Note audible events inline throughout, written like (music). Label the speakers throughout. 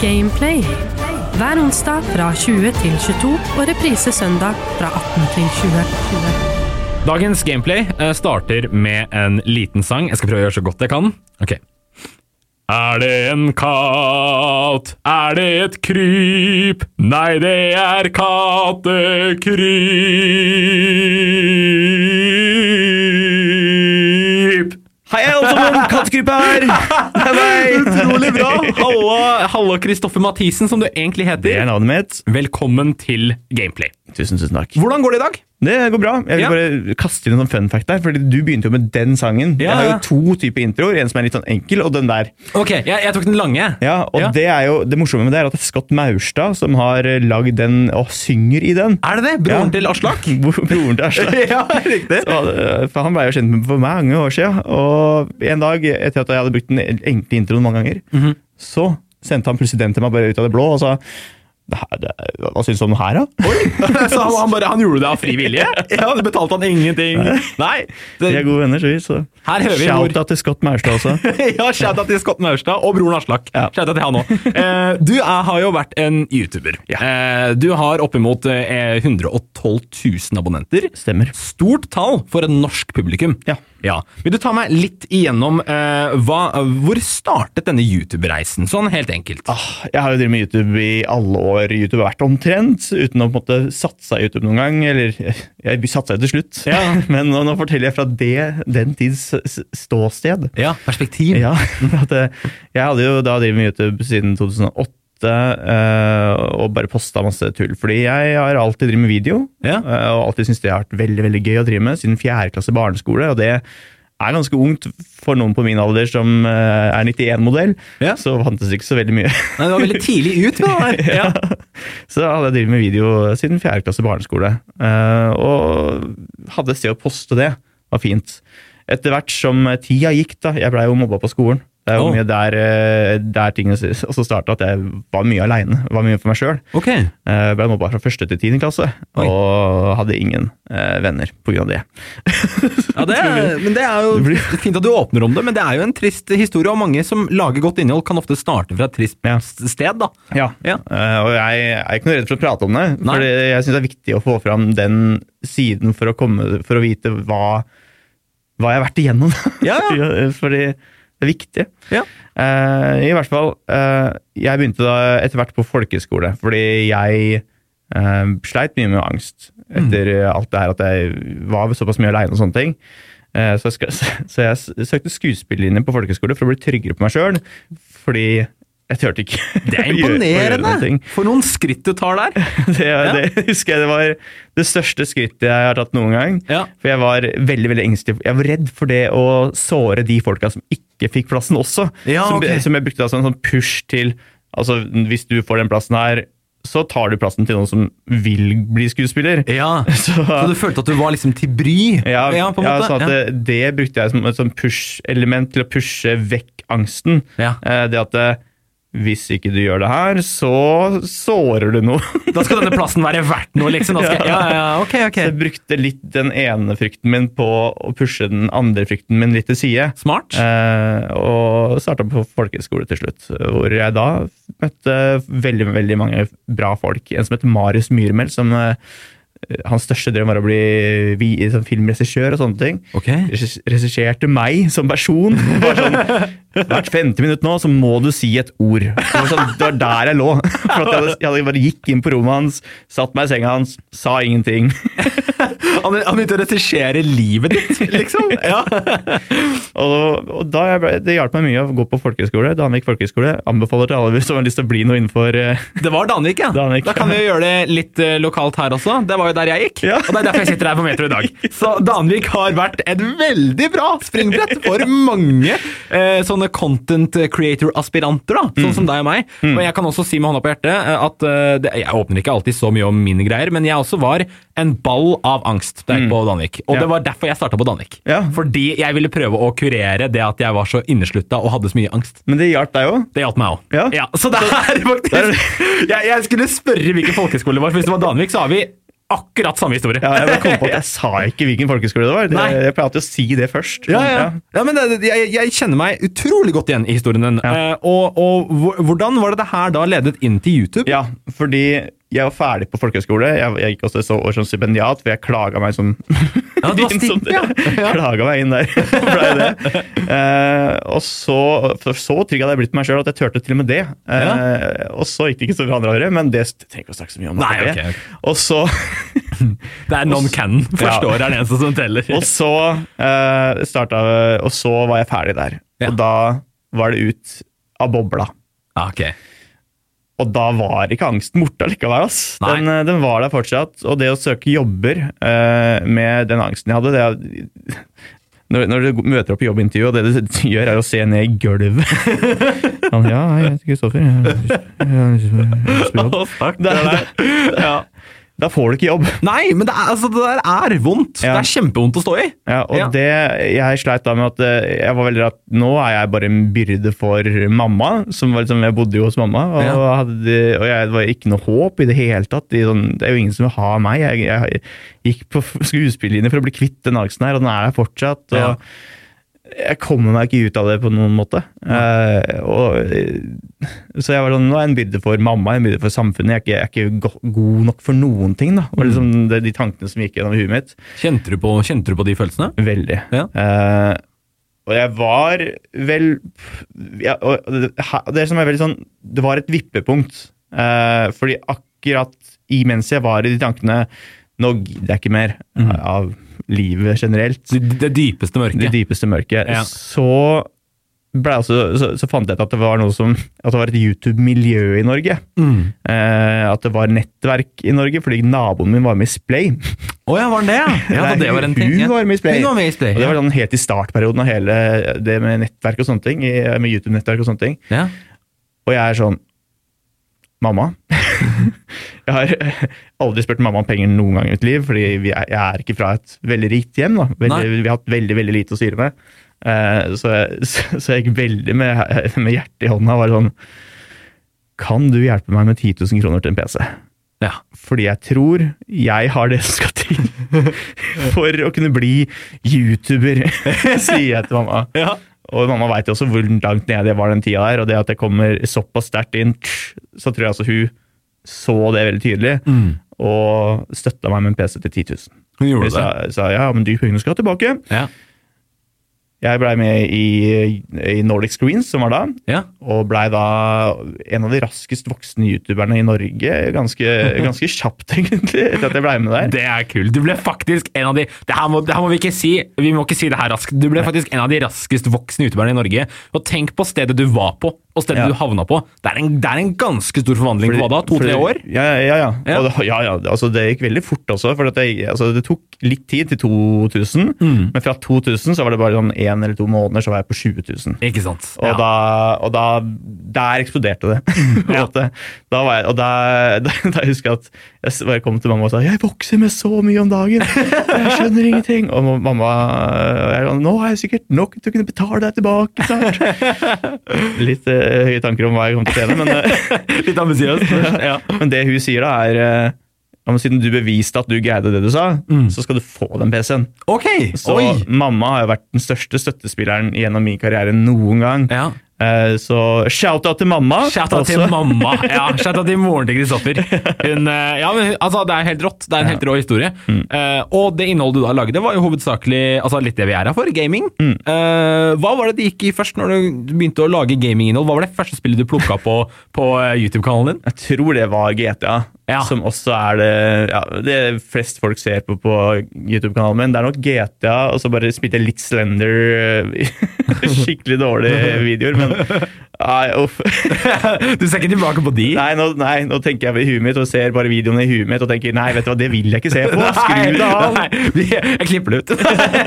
Speaker 1: Gameplay. Hver onsdag fra 20 til 22 og reprise søndag fra 18 til 20.
Speaker 2: Dagens gameplay eh, starter med en liten sang. Jeg skal prøve å gjøre så godt jeg kan. Ok. Er det en katt? Er det et kryp? Nei, det er (laughs) kattekryp.
Speaker 3: Hei, alle (laughs) sammen! Kattekrype her! Hei, hei!
Speaker 2: Utrolig bra! Halla, halla Kristoffer Mathisen, som du egentlig
Speaker 3: Det er
Speaker 2: heter.
Speaker 3: navnet mitt.
Speaker 2: Velkommen til Gameplay.
Speaker 3: Tusen, tusen takk.
Speaker 2: Hvordan går det i dag?
Speaker 3: Det går bra. Jeg vil
Speaker 2: Ja.
Speaker 3: bare kaste inn en sånn fun fact der, fordi du begynte jo med den sangen.
Speaker 2: Ja,
Speaker 3: Jeg har
Speaker 2: ja.
Speaker 3: jo to typer introer, en som er litt sånn enkel, og den der.
Speaker 2: Ok, jeg, jeg tok den lange.
Speaker 3: Ja, og
Speaker 2: Ja.
Speaker 3: Det er jo det morsomme med det er at det er Scott Maurstad som har eh, lagd den og synger i den.
Speaker 2: Er det det? Broren
Speaker 3: Ja.
Speaker 2: til Aslak?
Speaker 3: (laughs) Broren til Aslak.
Speaker 2: (laughs) ja, riktig.
Speaker 3: Så, eh, For han ble jo kjent med for mange år siden, og en dag etter at jeg hadde brukt den enkle introen mange ganger,
Speaker 2: Mhm.
Speaker 3: så sendte han plutselig den til meg bare ut av det blå og sa det her, det, Hva syns du om den her, da?
Speaker 2: (laughs) Så han, han, bare, han gjorde det av fri vilje? (laughs) Ja, Det betalte han ingenting? Nei. Det,
Speaker 3: Vi er gode venner, så vi. Så.
Speaker 2: Her hører vi hvor-
Speaker 3: Shout-out til Scott Maurstad også.
Speaker 2: (laughs) ja, Shouta til Scott Maurstad og broren Aslak.
Speaker 3: Ja.
Speaker 2: Shouta til (laughs) han òg. Eh, du er, har jo vært en YouTuber. Eh, du har oppimot eh, 112 000 abonnenter.
Speaker 3: Stemmer.
Speaker 2: Stort tall for et norsk publikum.
Speaker 3: Ja.
Speaker 2: Vil du ta meg litt igjennom eh, hva, hvor startet denne YouTube-reisen? Sånn helt enkelt.
Speaker 3: Ah, Jeg har jo drevet med YouTube i alle år. YouTube har vært omtrent, uten å på en måte satse i YouTube noen gang. Eller jeg satsa jo til slutt,
Speaker 2: Ja.
Speaker 3: (laughs) men nå, nå forteller jeg fra det, den tids s- ståsted.
Speaker 2: Ja, perspektiv.
Speaker 3: Ja, (laughs) for at eh, jeg hadde jo da drevet med YouTube siden 2008. eh, og bare posta masse tull. Fordi jeg har alltid drevet med video,
Speaker 2: Ja.
Speaker 3: eh, og alltid syntes det har vært veldig veldig gøy å drive med siden fjerde klasse barneskole. Og det er ganske ungt for noen på min alder som eh, er 91-modell.
Speaker 2: Ja.
Speaker 3: Så fantes det ikke så veldig mye. (laughs)
Speaker 2: Nei, det var veldig tidlig ut. med det der. Ja.
Speaker 3: Så da hadde jeg drevet med video siden fjerde klasse barneskole. eh, Og hadde et sted å poste det. var fint. Etter hvert som tida gikk, da Jeg blei jo mobba på skolen. Det er jo
Speaker 2: Å.
Speaker 3: mye der, eh, der tingene s- også starta, at jeg var mye aleine. Var mye for meg sjøl.
Speaker 2: (laughs) Ok.
Speaker 3: Blei mobba fra første til tiende klasse,
Speaker 2: Oi.
Speaker 3: og hadde ingen eh, venner pga. det.
Speaker 2: Ja, det er, men det er jo
Speaker 3: Det
Speaker 2: (laughs) fint at du åpner om det, men det er jo en trist historie, og mange som lager godt innhold, kan ofte starte fra et trist
Speaker 3: Ja.
Speaker 2: sted, da.
Speaker 3: Ja,
Speaker 2: Ja.
Speaker 3: eh, og jeg, jeg er ikke noe redd for å prate om det.
Speaker 2: Nei.
Speaker 3: For jeg syns det er viktig å få fram den siden for å, komme, for å vite hva, hva jeg har vært igjennom.
Speaker 2: Ja, ja.
Speaker 3: (laughs) Fordi det er viktig.
Speaker 2: Ja.
Speaker 3: Eh, I hvert fall, eh, jeg begynte da etter hvert på folkeskole, fordi jeg eh, sleit mye med angst etter
Speaker 2: Mm.
Speaker 3: eh, alt det her at jeg var såpass mye aleine og sånne ting. Eh, så, jeg skal, (laughs) så jeg s- søkte skuespillerlinje på folkeskole for å bli tryggere på meg sjøl, fordi jeg turte ikke.
Speaker 2: Det er
Speaker 3: å (laughs) gjøre- å gjøre noen
Speaker 2: imponerende!
Speaker 3: ting.
Speaker 2: For noen skritt du tar der.
Speaker 3: (laughs) Det, det husker jeg det var det største skrittet jeg har tatt noen gang.
Speaker 2: Ja.
Speaker 3: For jeg var veldig veldig engstelig. Jeg var redd for det å såre de folka som ikke fikk plassen også.
Speaker 2: Ja,
Speaker 3: som,
Speaker 2: ok.
Speaker 3: som jeg brukte da som en sånn push til altså Hvis du får den plassen her, så tar du plassen til noen som vil bli skuespiller.
Speaker 2: (laughs) Ja.
Speaker 3: (laughs) Så,
Speaker 2: (laughs) Så du følte at du var liksom til bry?
Speaker 3: ja,
Speaker 2: på en
Speaker 3: ja,
Speaker 2: måte.
Speaker 3: sånn at det, det brukte jeg som et sånn push-element til å pushe vekk angsten.
Speaker 2: Ja.
Speaker 3: Eh, Det at eh, hvis ikke du gjør det her, så sårer du noe. (laughs)
Speaker 2: Da skal denne plassen være verdt noe, liksom. Da skal, ja, ja, ok, ok.
Speaker 3: (laughs) Så jeg brukte litt den ene frykten min på å pushe den andre frykten min litt til side.
Speaker 2: Smart.
Speaker 3: Eh, og starta på folkehøyskole til slutt, hvor jeg da møtte veldig veldig mange bra folk. En som heter Marius Myrmel, som eh, hans største drøm var å bli vi, som filmregissør og sånne ting.
Speaker 2: Ok.
Speaker 3: Regis- Regisserte meg som person. Bare sånn, Hvert femte minutt nå så må du si et ord. Det var, sånn, det var der jeg lå. For at jeg, hadde, jeg hadde bare gikk inn på rommet hans, satt meg i senga hans, sa ingenting.
Speaker 2: Han han begynte å regissere livet ditt,
Speaker 3: (laughs)
Speaker 2: liksom. Ja.
Speaker 3: Og, og da jeg ble, Det hjalp meg mye å gå på folkehøyskole. Danvik folkehøyskole. Anbefaler til alle hvis du har lyst til å bli noe innenfor eh, (laughs)
Speaker 2: Det var Danvik, ja.
Speaker 3: Danvik,
Speaker 2: Da kan vi
Speaker 3: ja.
Speaker 2: jo gjøre det litt eh, lokalt her også. Det var jo der jeg gikk,
Speaker 3: Ja.
Speaker 2: og det er derfor jeg sitter her på Metro i
Speaker 3: (laughs)
Speaker 2: dag. Så Danvik har vært et veldig bra springbrett for mange eh, sånne content creator-aspiranter, da, sånn
Speaker 3: Mm.
Speaker 2: som deg og meg. Og jeg kan også si med hånda på hjertet eh, at eh, det, jeg åpner ikke alltid så mye om mine greier, men jeg også var en ball av angst der på Danvik. Og
Speaker 3: Mm. Ja.
Speaker 2: det var derfor jeg starta på Danvik.
Speaker 3: Ja.
Speaker 2: Fordi jeg ville prøve å kurere det at jeg var så inneslutta og hadde så mye angst.
Speaker 3: Men det hjalp deg òg.
Speaker 2: Det hjalp meg òg.
Speaker 3: Ja.
Speaker 2: (laughs) så det er faktisk jeg, jeg skulle spørre hvilken folkehøyskole det var, for hvis det var Danvik, så har vi akkurat samme historie.
Speaker 3: Ja, jeg bare kom på at jeg sa ikke hvilken folkeskole det var. Det,
Speaker 2: Nei.
Speaker 3: jeg pleier alltid å si det
Speaker 2: (laughs)
Speaker 3: først.
Speaker 2: Ja, ja. ja men det, det- jeg, jeg kjenner meg utrolig godt igjen i historien din.
Speaker 3: Ja.
Speaker 2: Eh, og, og hvor- hvordan var det det her da ledet inn til YouTube?
Speaker 3: Ja, fordi jeg var ferdig på folkehøyskole. Jeg, jeg gikk også så år som stipendiat, for jeg klaga meg som (laughs)
Speaker 2: Ja, du var
Speaker 3: inn som- (laughs)
Speaker 2: stipendiat. Ja.
Speaker 3: Klaga meg inn der. (laughs) Blei det. Eh, og så, for så trygg hadde jeg blitt på meg sjøl at jeg turte til og med det. Eh, Og så gikk det ikke så bra andre året, men det st- trenger ikke å snakke så mye om.
Speaker 2: Nei,
Speaker 3: det.
Speaker 2: ok, ok.
Speaker 3: Og så,
Speaker 2: Det er non-canon. Forstår er det eneste som teller.
Speaker 3: og så eh, starta Og så var jeg ferdig der.
Speaker 2: Ja.
Speaker 3: Og da var det ut av bobla.
Speaker 2: Ja, Ah, ok.
Speaker 3: Og da var ikke angsten borte likevel. Ass.
Speaker 2: Nei.
Speaker 3: Den, eh, den var der fortsatt. Og det å søke jobber eh, med den angsten jeg hadde det er, når, når du møter opp i jobbintervju, og det du (laughs) gjør, er å se ned i gulvet (laughs) Han, Ja, hei, jeg heter Kristoffer. Jeg- jeg- jeg- jeg spiller jobb. (laughs) Det er- det- ja. Da får du ikke jobb.
Speaker 2: Nei, men det, er, altså, det der er vondt. Det
Speaker 3: Ja.
Speaker 2: er kjempevondt å stå i.
Speaker 3: Ja, og
Speaker 2: Ja.
Speaker 3: det jeg sleit da med at eh, jeg var veldig redd nå er jeg bare en byrde for mamma. som var liksom, Jeg bodde jo hos mamma, og,
Speaker 2: Ja.
Speaker 3: hadde, og jeg, det var ikke noe håp i det hele tatt. I sånn, det er jo ingen som vil ha meg. Jeg, jeg gikk på f- skuespillerlinje for å bli kvitt den angsten her, og den er der fortsatt. og
Speaker 2: Ja.
Speaker 3: Jeg kommer meg ikke ut av det på noen måte. Eh, og, eh, så jeg var sånn, nå er jeg en byrde for mamma, jeg er en byrde for samfunnet. Jeg er ikke, jeg er ikke go god nok for noen ting. da. Det
Speaker 2: Mm.
Speaker 3: var liksom det, de tankene som gikk gjennom huet mitt.
Speaker 2: Kjente du på, kjente du på de følelsene?
Speaker 3: Veldig.
Speaker 2: Ja.
Speaker 3: Eh, og jeg var vel ja, og det, her- det som er veldig sånn Det var et vippepunkt. Eh, fordi akkurat i- mens jeg var i de tankene Nå gidder jeg ikke mer
Speaker 2: Mm.
Speaker 3: av livet generelt.
Speaker 2: Det, det dypeste mørket.
Speaker 3: Det dypeste mørket.
Speaker 2: Ja.
Speaker 3: Så, ble jeg også, så, så fant jeg ut at det var noe som At det var et YouTube-miljø i Norge.
Speaker 2: Mm.
Speaker 3: Eh, at det var nettverk i Norge, fordi naboen min var med i Splay.
Speaker 2: Å ja, var den (laughs) det? ja? Ja,
Speaker 3: Nei,
Speaker 2: det var en ting.
Speaker 3: Hun
Speaker 2: ja.
Speaker 3: var med i Splay.
Speaker 2: Hun var med i Splay,
Speaker 3: Og det
Speaker 2: ja.
Speaker 3: var sånn helt i startperioden av hele det med nettverk og sånne ting. i- Med YouTube-nettverk og sånne ting.
Speaker 2: Ja.
Speaker 3: Og jeg er sånn Mamma. (laughs) jeg har aldri spurt mamma om penger noen gang i mitt liv, fordi vi er, jeg er ikke fra et veldig rikt hjem. da.
Speaker 2: Nei.
Speaker 3: Veldig, vi har hatt veldig veldig lite å styre med. Eh, så, jeg- (laughs) så, så jeg gikk veldig med, med hjertet i hånda og var sånn Kan du hjelpe meg med 10 000 kroner til en PC?
Speaker 2: Ja.
Speaker 3: Fordi jeg tror jeg har det som skal til for å kunne bli YouTuber, (laughs) sier jeg til mamma.
Speaker 2: Ja.
Speaker 3: Og mamma veit jo også hvor langt nede jeg var den tida der, og det at jeg kommer såpass sterkt inn, så tror jeg altså hun så det veldig tydelig, og støtta meg med en PC til 10 000.
Speaker 2: Hun gjorde
Speaker 3: Hun sa, sa ja, men de pengene skal tilbake.
Speaker 2: det. Ja.
Speaker 3: Jeg blei med i, i Nordic Screens, som var da,
Speaker 2: Ja.
Speaker 3: og blei da en av de raskest voksne youtuberne i Norge ganske,
Speaker 2: (laughs)
Speaker 3: ganske kjapt, egentlig, etter at jeg blei med der.
Speaker 2: Det er kult. Du ble faktisk en av de det her, må, det her må vi ikke si. Vi må ikke si det her raskt. Du ble faktisk en av de raskest voksne utøverne i Norge. Og tenk på stedet du var på, og stedet
Speaker 3: Ja.
Speaker 2: du havna på. Det er en, det er en ganske stor forvandling på hva da? To-tre år?
Speaker 3: Ja, ja, ja. ja.
Speaker 2: Ja.
Speaker 3: Og det, ja, ja altså, det gikk veldig fort også. For at jeg, altså, det tok litt tid til 2000,
Speaker 2: Mm.
Speaker 3: men fra 2000 så var det bare sånn én eller to måneder så var jeg på 20 000.
Speaker 2: Ikke sant?
Speaker 3: Og, da, og da Der eksploderte det. (laughs) På en
Speaker 2: Mm. Ja.
Speaker 3: måte. Da var jeg, og da, da, (laughs) da husker jeg at jeg s- bare kom til mamma og sa 'Jeg vokser med så mye om dagen! Jeg
Speaker 2: (laughs)
Speaker 3: skjønner ingenting!' Og mamma og jeg, sa, 'Nå har jeg sikkert nok til å kunne betale deg tilbake snart'.
Speaker 2: (laughs)
Speaker 3: Litt eh, høye tanker om hva jeg kom til å tjene, men eh,
Speaker 2: Litt ambisiøst. (laughs) Ja.
Speaker 3: (laughs) men det hun sier da er eh, ja, men Siden du beviste at du greide det du sa,
Speaker 2: Mm.
Speaker 3: så skal du få den PC-en.
Speaker 2: Ok!
Speaker 3: Så
Speaker 2: Oi!
Speaker 3: mamma har jo vært den største støttespilleren gjennom min karriere noen gang.
Speaker 2: Ja.
Speaker 3: Eh, så shout-out til mamma.
Speaker 2: Shout-out til
Speaker 3: også.
Speaker 2: mamma. Ja, shout-out til moren til Kristoffer. Hun, eh, ja, men hun- altså, det er helt rått. Det er en helt rå historie. Eh, og det innholdet du da lagde, var jo hovedsakelig altså, litt det vi er her for, gaming. Eh, hva var det det gikk i først når du begynte å lage gaminginnhold? Hva var det første spillet du plukka opp på, på eh, YouTube-kanalen din? (laughs)
Speaker 3: Jeg tror det var GTA,
Speaker 2: Ja.
Speaker 3: som også er det, ja, det flest folk ser på på YouTube-kanalen min. Det er nok GTA, og så bare spilte jeg litt Slender. eh, (laughs) Skikkelig dårlige videoer, men Nei, uff.
Speaker 2: Du ser ikke tilbake på de?
Speaker 3: Nei nå, nei, nå tenker jeg på huet mitt og ser bare videoene i huet mitt og tenker nei, vet du hva, det vil jeg ikke se på. Skru det av.
Speaker 2: Nei, vi- jeg klipper det ut.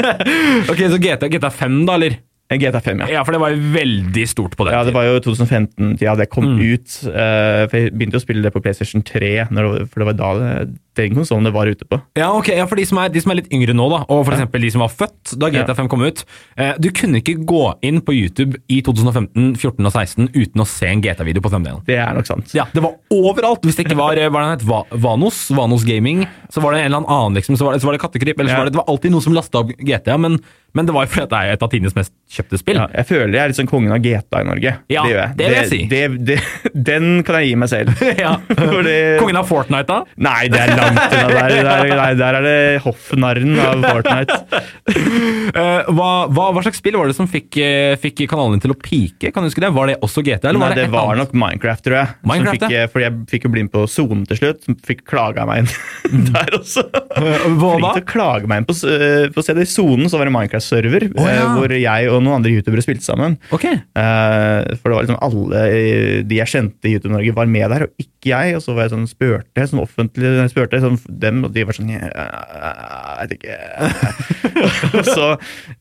Speaker 2: (laughs) ok, Så GTA, GTA 5, da, eller?
Speaker 3: GTA 5, ja.
Speaker 2: Ja, for det var jo veldig stort på den
Speaker 3: Ja, Det
Speaker 2: tiden.
Speaker 3: var jo
Speaker 2: Mm.
Speaker 3: 2015-tida det kom ut. eh, for Jeg begynte å spille det på PlayStation 3, når det, var- for det var da det, den konsollen det var ute på.
Speaker 2: Ja, ok, ja, for de som, er, de som er litt yngre nå, da, og for eksempel de som var født da
Speaker 3: Ja.
Speaker 2: GTA5 kom ut eh, Du kunne ikke gå inn på YouTube i 2015, 14 og 16 uten å se en GTA-video på 5D-en.
Speaker 3: Det er nok sant.
Speaker 2: Ja, det var overalt! Hvis det ikke var eh, hva er det den het, Va- Vanos, Vanos Gaming, så var det en eller annen annen, liksom, så var det, så var det Kattekryp, eller så
Speaker 3: Ja.
Speaker 2: var det, det var alltid noen som lasta opp GTA, men, men det var jo fordi at det er jo et av tidenes mest kjøpte spill.
Speaker 3: Ja, jeg føler jeg er litt sånn kongen av GTA i Norge.
Speaker 2: Ja,
Speaker 3: gjør jeg.
Speaker 2: det vil jeg si.
Speaker 3: Det, det, (laughs) den kan jeg gi meg selv.
Speaker 2: (laughs) Ja.
Speaker 3: Fordi-
Speaker 2: Kongen av Fortnite, da?
Speaker 3: Nei, det er langt unna
Speaker 2: (laughs)
Speaker 3: der. Der, der, der er det hoffnarren av Fortnite.
Speaker 2: Eh, hva, hva, hva slags spill var det som fikk, eh, fikk kanalen din til å pike? Kan du huske det? Var det også GTA? (laughs) Eller
Speaker 3: Nei,
Speaker 2: var det,
Speaker 3: det
Speaker 2: et
Speaker 3: var
Speaker 2: annet?
Speaker 3: nok Minecraft, tror jeg. som
Speaker 2: Minecraft,
Speaker 3: fikk,
Speaker 2: ja.
Speaker 3: eh, Fordi jeg fikk jo bli med på sonen til slutt. som Fikk klaga meg (laughs) inn
Speaker 2: Mm.
Speaker 3: der også.
Speaker 2: hva
Speaker 3: Flink
Speaker 2: da?
Speaker 3: til å klage meg inn på, s- eh, på stedet. I sonen så var det Minecraft-server,
Speaker 2: Å,
Speaker 3: eh,
Speaker 2: ja.
Speaker 3: hvor jeg og noen andre youtubere spilte sammen.
Speaker 2: Ok.
Speaker 3: Eh, for det var liksom alle eh, de jeg kjente i YouTube-Norge, var med der, og ikke jeg. Og så var jeg sånn spurte sånn offentlig jeg spurte sånn, dem, og de var sånn Jeg vet
Speaker 2: (laughs)
Speaker 3: ikke Og så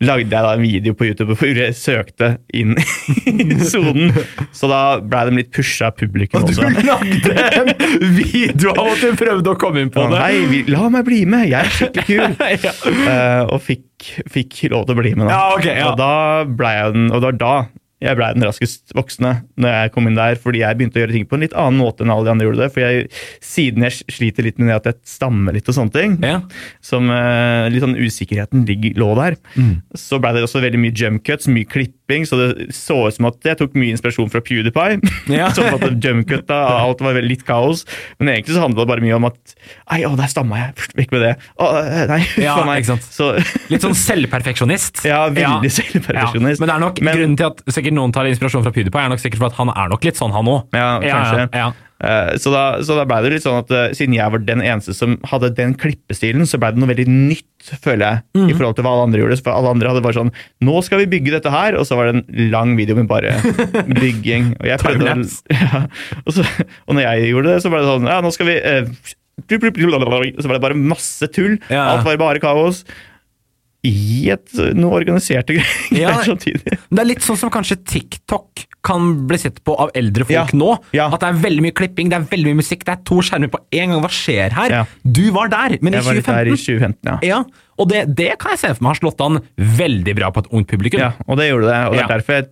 Speaker 3: lagde jeg da en video på YouTube hvor jeg søkte inn (laughs) i sonen. Så da blei de litt pusha av publikum
Speaker 2: Du
Speaker 3: (laughs) også.
Speaker 2: lagde en video av at du prøvde å komme inn på
Speaker 3: Ja,
Speaker 2: det.
Speaker 3: Hei, vi- la meg bli med! Jeg er skikkelig kul!
Speaker 2: (laughs) Ja.
Speaker 3: Eh, og fikk, fikk lov til å bli med, da.
Speaker 2: Ja, ok, ja.
Speaker 3: Og da ble jeg den, og det var da jeg blei den raskest voksne, når jeg kom inn der, fordi jeg begynte å gjøre ting på en litt annen måte enn alle de andre gjorde det. For jeg, siden jeg sliter litt med det at jeg stammer litt og sånne ting,
Speaker 2: Ja.
Speaker 3: som eh, litt sånn usikkerheten ligger, lå der,
Speaker 2: Mm.
Speaker 3: så blei det også veldig mye jump cuts, mye klipping, så det så ut som at jeg tok mye inspirasjon fra PewDiePie. (laughs)
Speaker 2: Ja.
Speaker 3: som Sånn at jump cutta, alt var veldig litt kaos. Men egentlig så handla det bare mye om at Ei, å, der stamma jeg! Pst, Vekk med det! Å, eh, nei,
Speaker 2: Ja,
Speaker 3: (laughs) faen meg.
Speaker 2: ikke sant.
Speaker 3: Så,
Speaker 2: Litt sånn selvperfeksjonist.
Speaker 3: ja, veldig
Speaker 2: Ja.
Speaker 3: selvperfeksjonist.
Speaker 2: Ja, men det er nok grunnen til at sikkert noen tar inspirasjon fra PewDiePie, er nok sikkert for at han er nok litt sånn, han òg.
Speaker 3: Ja, kanskje.
Speaker 2: Ja, ja.
Speaker 3: Eh, Så da, så da blei det litt sånn at eh, siden jeg var den eneste som hadde den klippestilen, så blei det noe veldig nytt, føler jeg, i
Speaker 2: Mhm.
Speaker 3: forhold til hva alle andre gjorde. For alle andre hadde bare sånn Nå skal vi bygge dette her! Og så var det en lang video med bare
Speaker 2: (laughs)
Speaker 3: bygging. Og, jeg prøvde,
Speaker 2: Timelapse.
Speaker 3: å- (laughs) ja, og, så, og når jeg gjorde det, så ble det sånn Ja, nå skal vi eh, Så var det bare masse tull.
Speaker 2: Ja.
Speaker 3: Alt var bare kaos. I et noe organiserte greier
Speaker 2: Ja.
Speaker 3: (laughs) samtidig.
Speaker 2: Men Det er litt sånn som kanskje TikTok kan bli sett på av eldre folk
Speaker 3: Ja,
Speaker 2: nå.
Speaker 3: ja.
Speaker 2: At det er veldig mye klipping, det er veldig mye musikk, det er to skjermer på én gang. Hva skjer her?
Speaker 3: Ja.
Speaker 2: Du var der, men i
Speaker 3: Jeg var litt der i
Speaker 2: 2015
Speaker 3: 2015, ja.
Speaker 2: Ja, og det, det kan jeg se for meg har slått an veldig bra på et ungt publikum.
Speaker 3: Ja, og det gjorde det. Og det er
Speaker 2: Ja.
Speaker 3: derfor jeg,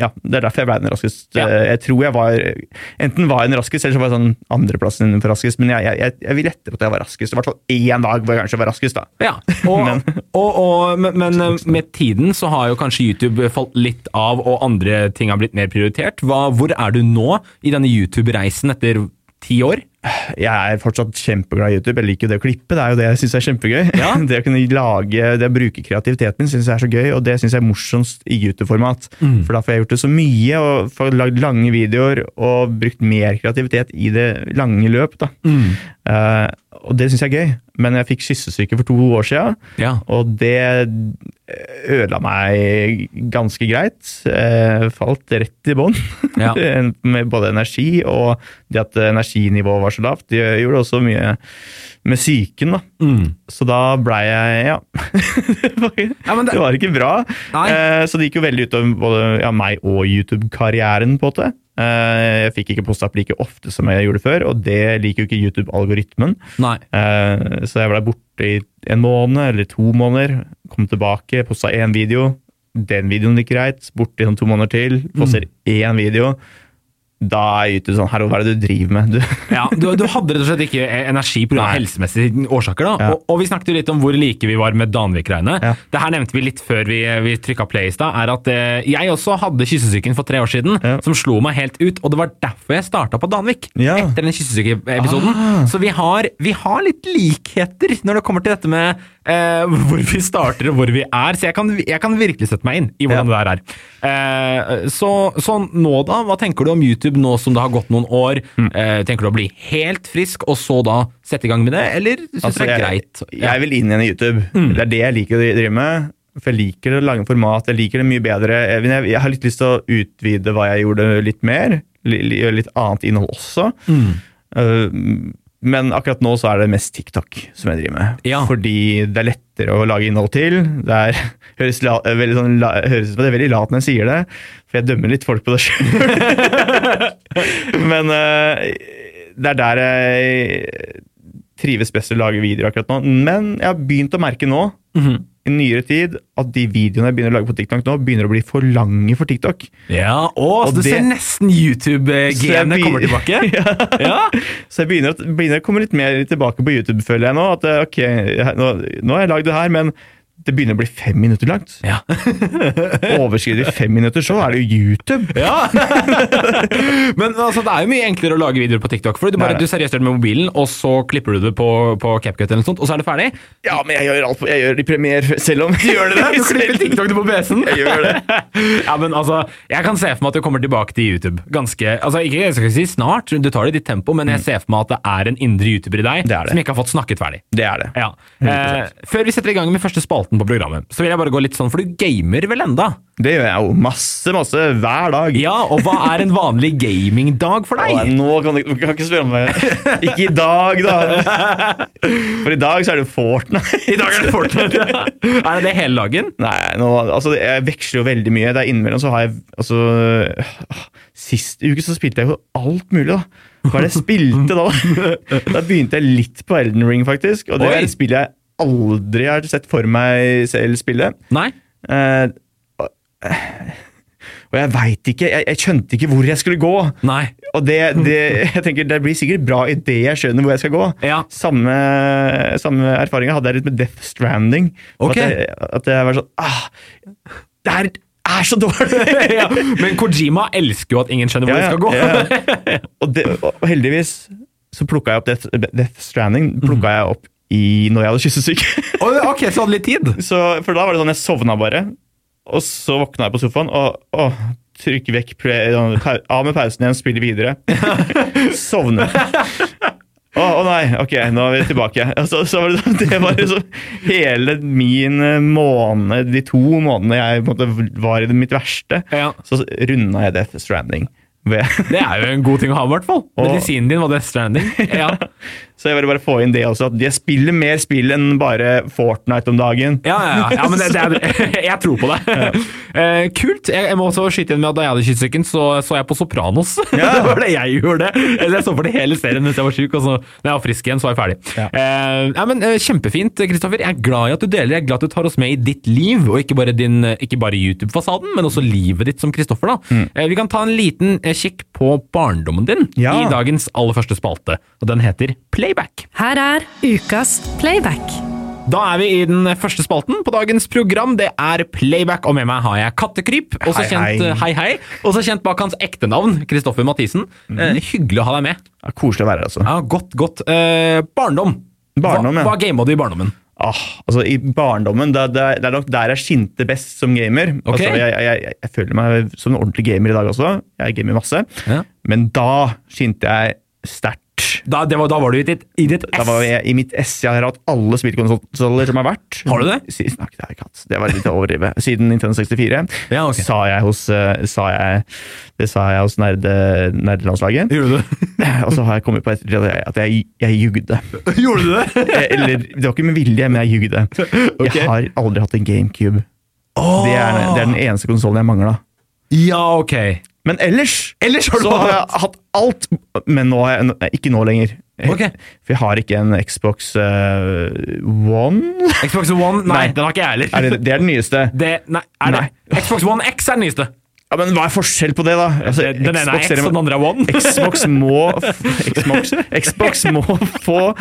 Speaker 3: ja, det er derfor jeg ble den raskest.
Speaker 2: Ja.
Speaker 3: Eh, Jeg tror jeg var Enten var jeg den raskest, eller så var jeg sånn andreplassen innenfor raskest. Men jeg, jeg, jeg, jeg vil etter at jeg var raskest. I hvert fall én dag hvor jeg kanskje var raskest, da.
Speaker 2: Ja, (laughs) og, og, og, men, men eh, med tiden så har jo kanskje YouTube falt litt av, og andre ting har blitt mer prioritert. Hva, hvor er du nå i denne YouTube-reisen etter ti år?
Speaker 3: Jeg er fortsatt kjempeglad i YouTube. Jeg liker jo det å klippe, det er jo det jeg syns er kjempegøy.
Speaker 2: Ja.
Speaker 3: (laughs) Det å kunne lage, det å bruke kreativiteten min syns jeg er så gøy, og det syns jeg er morsomst i YouTube-format.
Speaker 2: Mm.
Speaker 3: For da får jeg gjort det så mye, og får lagd lange videoer og brukt mer kreativitet i det lange løp. da.
Speaker 2: Mm.
Speaker 3: Eh, og det syns jeg er gøy, men jeg fikk kyssesyke for to år siden,
Speaker 2: Ja.
Speaker 3: og det eh, ødela meg ganske greit. Eh, falt rett i bånn.
Speaker 2: Ja.
Speaker 3: (laughs) med både energi og det at energinivået var så lavt. Det gjorde også mye med psyken, da. Så da blei jeg Ja. (laughs) det, var,
Speaker 2: Mm. Ja, men det-
Speaker 3: det var ikke bra.
Speaker 2: Nei.
Speaker 3: Eh, så det gikk jo veldig utover både ja, meg og YouTube-karrieren, på en måte. Eh, jeg fikk ikke posta opp like ofte som jeg gjorde før, og det liker jo ikke YouTube-algoritmen.
Speaker 2: Nei.
Speaker 3: Eh, Så jeg ble borte i en måned eller to måneder. Kom tilbake, posta én video. Den videoen gikk greit. Borte i sånn to måneder til. Poster én video. Da er jeg ute sånn Herre, hva er det du driver med? Du.
Speaker 2: Ja, du, du hadde rett og slett ikke energi pga.
Speaker 3: Nei.
Speaker 2: helsemessige årsaker. da,
Speaker 3: Ja.
Speaker 2: og, og vi snakket jo litt om hvor like vi var med Danvik-greiene.
Speaker 3: Ja.
Speaker 2: Det her nevnte vi litt før vi, vi trykka play i stad. er at eh, Jeg også hadde kyssesyken for tre år siden,
Speaker 3: Ja.
Speaker 2: som slo meg helt ut. Og det var derfor jeg starta på Danvik.
Speaker 3: Ja.
Speaker 2: Etter den kyssesykeepisoden.
Speaker 3: Ah.
Speaker 2: Så vi har, vi har litt likheter når det kommer til dette med eh, (laughs) hvor vi starter og hvor vi er. Så jeg kan, jeg kan virkelig sette meg inn i hvordan det der er. Eh, så, så nå da, hva tenker du om YouTube nå som det har gått noen år?
Speaker 3: Mm.
Speaker 2: Eh, tenker du å bli helt frisk, og så da sette i gang med det, eller syns du det er greit?
Speaker 3: Altså,
Speaker 2: Mm.
Speaker 3: Jeg, jeg vil inn igjen i YouTube. Det er det jeg liker å drive med. For jeg liker det lange format. Jeg liker det mye bedre. Jeg, men jeg, jeg har litt lyst til å utvide hva jeg gjorde, litt mer. li- li- Gjøre litt annet innhold også.
Speaker 2: Mm.
Speaker 3: Uh, men akkurat nå så er det mest TikTok som jeg driver med.
Speaker 2: Ja.
Speaker 3: Fordi det er lettere å lage innhold til. Det er, (laughs) høres, la, veldig sånn, la, høres ut som at jeg er veldig lat når jeg sier det, for jeg dømmer litt folk på det
Speaker 2: (laughs)
Speaker 3: (laughs) sjøl. Men eh, det er der jeg trives best til å lage videoer akkurat nå. Men jeg har begynt å merke nå, i nyere tid, at de videoene jeg begynner å lage på TikTok nå, begynner å bli for lange for TikTok.
Speaker 2: Ja, å,
Speaker 3: Og
Speaker 2: så du
Speaker 3: det-
Speaker 2: ser nesten
Speaker 3: Så jeg
Speaker 2: YouTube-genet
Speaker 3: blir-
Speaker 2: kommer tilbake.
Speaker 3: (laughs)
Speaker 2: ja.
Speaker 3: Så jeg begynner, å- begynner å komme litt mer tilbake på YouTube, føler jeg nå. At eh, ok, jeg- nå, nå har jeg lagd det her, men det begynner å bli fem minutter (laughs) langt.
Speaker 2: Ja.
Speaker 3: Overskrider fem minutter, så er det jo YouTube.
Speaker 2: Ja! (laughs) Men altså, det er jo mye enklere å lage videoer på TikTok. Fordi du bare
Speaker 3: Nei, nei.
Speaker 2: du seriøst gjør det med mobilen, og så klipper du det på, på CapCut, eller noe sånt, og så er det ferdig.
Speaker 3: Ja, men jeg gjør alt på, jeg gjør det i premiere, selv om Gjør (laughs)
Speaker 2: Du klipper TikTok på PC-en. (laughs)
Speaker 3: Jeg gjør det.
Speaker 2: Ja, men altså, Jeg kan se for meg at du kommer tilbake til YouTube. Ganske, altså ikke jeg skal si snart, du tar det i ditt tempo, men jeg ser for meg at det er en indre YouTuber i deg
Speaker 3: Det er det.
Speaker 2: som ikke har fått snakket ferdig.
Speaker 3: Det er det.
Speaker 2: Ja. Eh, før vi setter i gang med første spalten på programmet, så vil jeg bare gå litt sånn, for du gamer vel enda?
Speaker 3: Det gjør jeg jo masse, masse hver dag.
Speaker 2: Ja, og hva er en vanlig gamingdag for
Speaker 3: Å,
Speaker 2: deg?
Speaker 3: nei, nå kan du, du kan ikke spørre
Speaker 2: (laughs)
Speaker 3: om det. Ikke i dag, da. For i dag så er det Fortnite.
Speaker 2: I dag er det (laughs) Fortnite. Er det det hele dagen?
Speaker 3: (laughs) Nei, nå, altså jeg veksler jo veldig mye. Det er innimellom så har jeg altså, øh, Sist uke så spilte jeg jo alt mulig, da. Hva er det jeg spilte da?
Speaker 2: (laughs)
Speaker 3: da? Da begynte jeg litt på Elden Ring, faktisk. Og det
Speaker 2: Oi.
Speaker 3: er et spill jeg aldri har sett for meg selv spille.
Speaker 2: Nei?
Speaker 3: Eh, og- eh, og jeg veit ikke jeg, jeg skjønte ikke hvor jeg skulle gå.
Speaker 2: Nei.
Speaker 3: Og det, det, jeg tenker, det blir sikkert bra idet jeg skjønner hvor jeg skal gå.
Speaker 2: Ja.
Speaker 3: Samme, samme erfaringa hadde jeg litt med Death Stranding.
Speaker 2: Ok.
Speaker 3: At, jeg, at jeg var sånn ah, Det her er så dårlig!
Speaker 2: (laughs) Ja, men Kojima elsker jo at ingen skjønner hvor
Speaker 3: Ja,
Speaker 2: det skal gå.
Speaker 3: ja, ja. Og, det, og heldigvis så plukka jeg opp Death, Death Stranding
Speaker 2: Mhm.
Speaker 3: plukket jeg opp i, når jeg hadde kyssesyke. (laughs)
Speaker 2: Å, Ok, så hadde litt tid.
Speaker 3: Så, for da var det sånn jeg sovna bare, og så våkna jeg på sofaen og, og trykk vekk play, pa- av med pausen igjen, spille
Speaker 2: (laughs)
Speaker 3: videre. Sovne. Å å nei, ok, nå er vi tilbake. Altså, så var det, sånn- det var liksom hele min eh, måned, de to månedene jeg på en måte, var i det mitt verste,
Speaker 2: Ja.
Speaker 3: så runda jeg Death Stranding. Ved- (laughs)
Speaker 2: Det er jo en god ting å ha, i hvert fall.
Speaker 3: Og-
Speaker 2: Medisinen din var Death Stranding. Ja.
Speaker 3: Så jeg ville bare få inn det også, at jeg spiller mer spill enn bare Fortnite om dagen.
Speaker 2: Ja, ja, ja. ja men det, det er, (laughs) jeg tror på det. Eh, kult. Jeg, jeg må også skyte inn med at da jeg hadde kyssesyken, så så jeg på Sopranos. (laughs) det var det jeg gjorde. Eller jeg så for det hele serien mens jeg var syk, og så når jeg var frisk igjen, så var jeg ferdig.
Speaker 3: Ja.
Speaker 2: Eh, ja, men eh, Kjempefint, Kristoffer. Jeg er glad i at du deler. Jeg er glad at du tar oss med i ditt liv, og ikke bare, din, eh, ikke bare YouTube-fasaden, men også livet ditt som Kristoffer. da.
Speaker 3: Mm.
Speaker 2: Eh, vi kan ta en liten eh, kikk på barndommen din
Speaker 3: Ja.
Speaker 2: i dagens aller første spalte, og den heter Playback.
Speaker 1: Her er ukas playback.
Speaker 2: Da er vi i den første spalten på dagens program. Det er playback, og med meg har jeg Kattekryp. Også
Speaker 3: Hei,
Speaker 2: kjent,
Speaker 3: hei.
Speaker 2: hei, hei. Også kjent bak hans ekte navn, Kristoffer Mathisen. Eh, hyggelig å ha deg med.
Speaker 3: Ja, koselig å være her, altså.
Speaker 2: Ja, Godt, godt. Eh, barndom.
Speaker 3: Barndom,
Speaker 2: hva,
Speaker 3: ja.
Speaker 2: Hva gama du i barndommen?
Speaker 3: Ah, altså I barndommen det, det, det er nok der jeg skinte best som gamer.
Speaker 2: Ok.
Speaker 3: Altså, jeg, jeg, jeg, jeg føler meg som en ordentlig gamer i dag også. Jeg gamer masse.
Speaker 2: Ja.
Speaker 3: Men da skinte jeg sterkt.
Speaker 2: Da, det var, da var du i ditt, i ditt
Speaker 3: Da
Speaker 2: ess.
Speaker 3: var jeg i mitt ess. Jeg har hatt alle spillkonsoller som har vært.
Speaker 2: Har du det?
Speaker 3: Siden, nei, det, har jeg ikke hatt. det var litt å overdrive. Siden Nintendo 64
Speaker 2: Ja, ok.
Speaker 3: sa jeg hos, eh, sa jeg, det sa jeg hos nerde, nerdelandslaget.
Speaker 2: Gjorde du
Speaker 3: Og så har jeg kommet på ettertid at jeg- at jeg, jeg jugde.
Speaker 2: det? (laughs) Gjorde du det?
Speaker 3: Eh, Eller, det var ikke med vilje, men jeg jugde.
Speaker 2: Ok.
Speaker 3: Jeg har aldri hatt en GameCube. Det, er, det er den eneste konsollen jeg mangla.
Speaker 2: Ja, ok.
Speaker 3: Men ellers,
Speaker 2: Ellers har du
Speaker 3: så har
Speaker 2: hatt-
Speaker 3: jeg hatt alt, men nå har jeg, nei, ikke nå lenger.
Speaker 2: Ok.
Speaker 3: For jeg har ikke en Xbox eh, One.
Speaker 2: Xbox One? Nei, den har ikke jeg heller.
Speaker 3: Er det, det er den nyeste.
Speaker 2: Det, nei, er
Speaker 3: Nei.
Speaker 2: det? Xbox One X er den nyeste.
Speaker 3: Ja, Men hva er forskjell på det, da? Altså,
Speaker 2: Den ene er X,
Speaker 3: ser-
Speaker 2: og den andre er (laughs) One.
Speaker 3: Xbox må f- Xbox, Xbox må få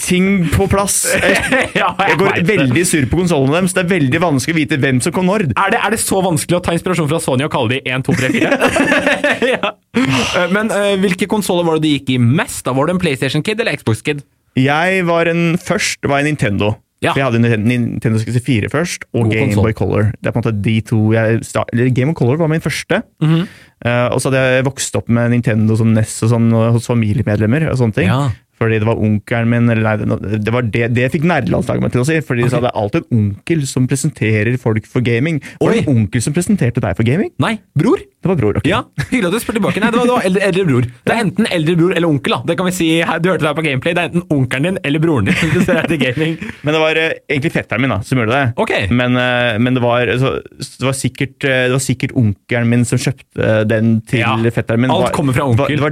Speaker 3: ting på
Speaker 2: (laughs)
Speaker 3: plass. Eh, Jeg,
Speaker 2: Ja, jeg
Speaker 3: jeg går
Speaker 2: vet det.
Speaker 3: veldig sur på konsollene deres. Det er veldig vanskelig å vite hvem som kom når.
Speaker 2: Er det, er det så vanskelig å ta inspirasjon fra Sony og kalle de 1, 2, 3, (laughs) 4? ja. Eh, Men eh, hvilke konsoller var det de gikk i mest? Da Var du en PlayStation Kid eller Xbox Kid?
Speaker 3: Jeg var en først, var jeg Nintendo.
Speaker 2: Ja.
Speaker 3: For Jeg hadde Nintendo- Nintendo 64 først, og
Speaker 2: God konsol.
Speaker 3: Gameboy Color. Det er på en måte de to jeg sta- eller Game of Color var min første.
Speaker 2: Mhm.
Speaker 3: Eh, og så hadde jeg vokst opp med Nintendo som NES og sånn, og hos familiemedlemmer. og sånne ting.
Speaker 2: Ja.
Speaker 3: Fordi det var onkelen min eller nei, det- Det var det, det fikk nerdelandslaget meg til å si. Fordi de sa det er alltid en onkel som presenterer folk for gaming. Var det en onkel som presenterte deg for gaming?
Speaker 2: Nei, bror.
Speaker 3: Det var bror. ok.
Speaker 2: Ja, (laughs) Hyggelig at du spør tilbake. Nei, det var, det var eldre, eldre bror. Det er enten eldre bror eller onkel. da. Det kan vi si, her- Du hørte det her på Gameplay. Det er enten onkelen din eller broren din. hvis det er til gaming.
Speaker 3: Men det var eh, egentlig fetteren min da, som gjorde det.
Speaker 2: Ok.
Speaker 3: Men, eh, men det, var, så, så det, var sikkert, eh, det var sikkert onkelen min som kjøpte eh, den til
Speaker 2: Ja,
Speaker 3: fetteren min.
Speaker 2: alt
Speaker 3: Det var-
Speaker 2: kommer fra
Speaker 3: det var-
Speaker 2: onkel.
Speaker 3: Det var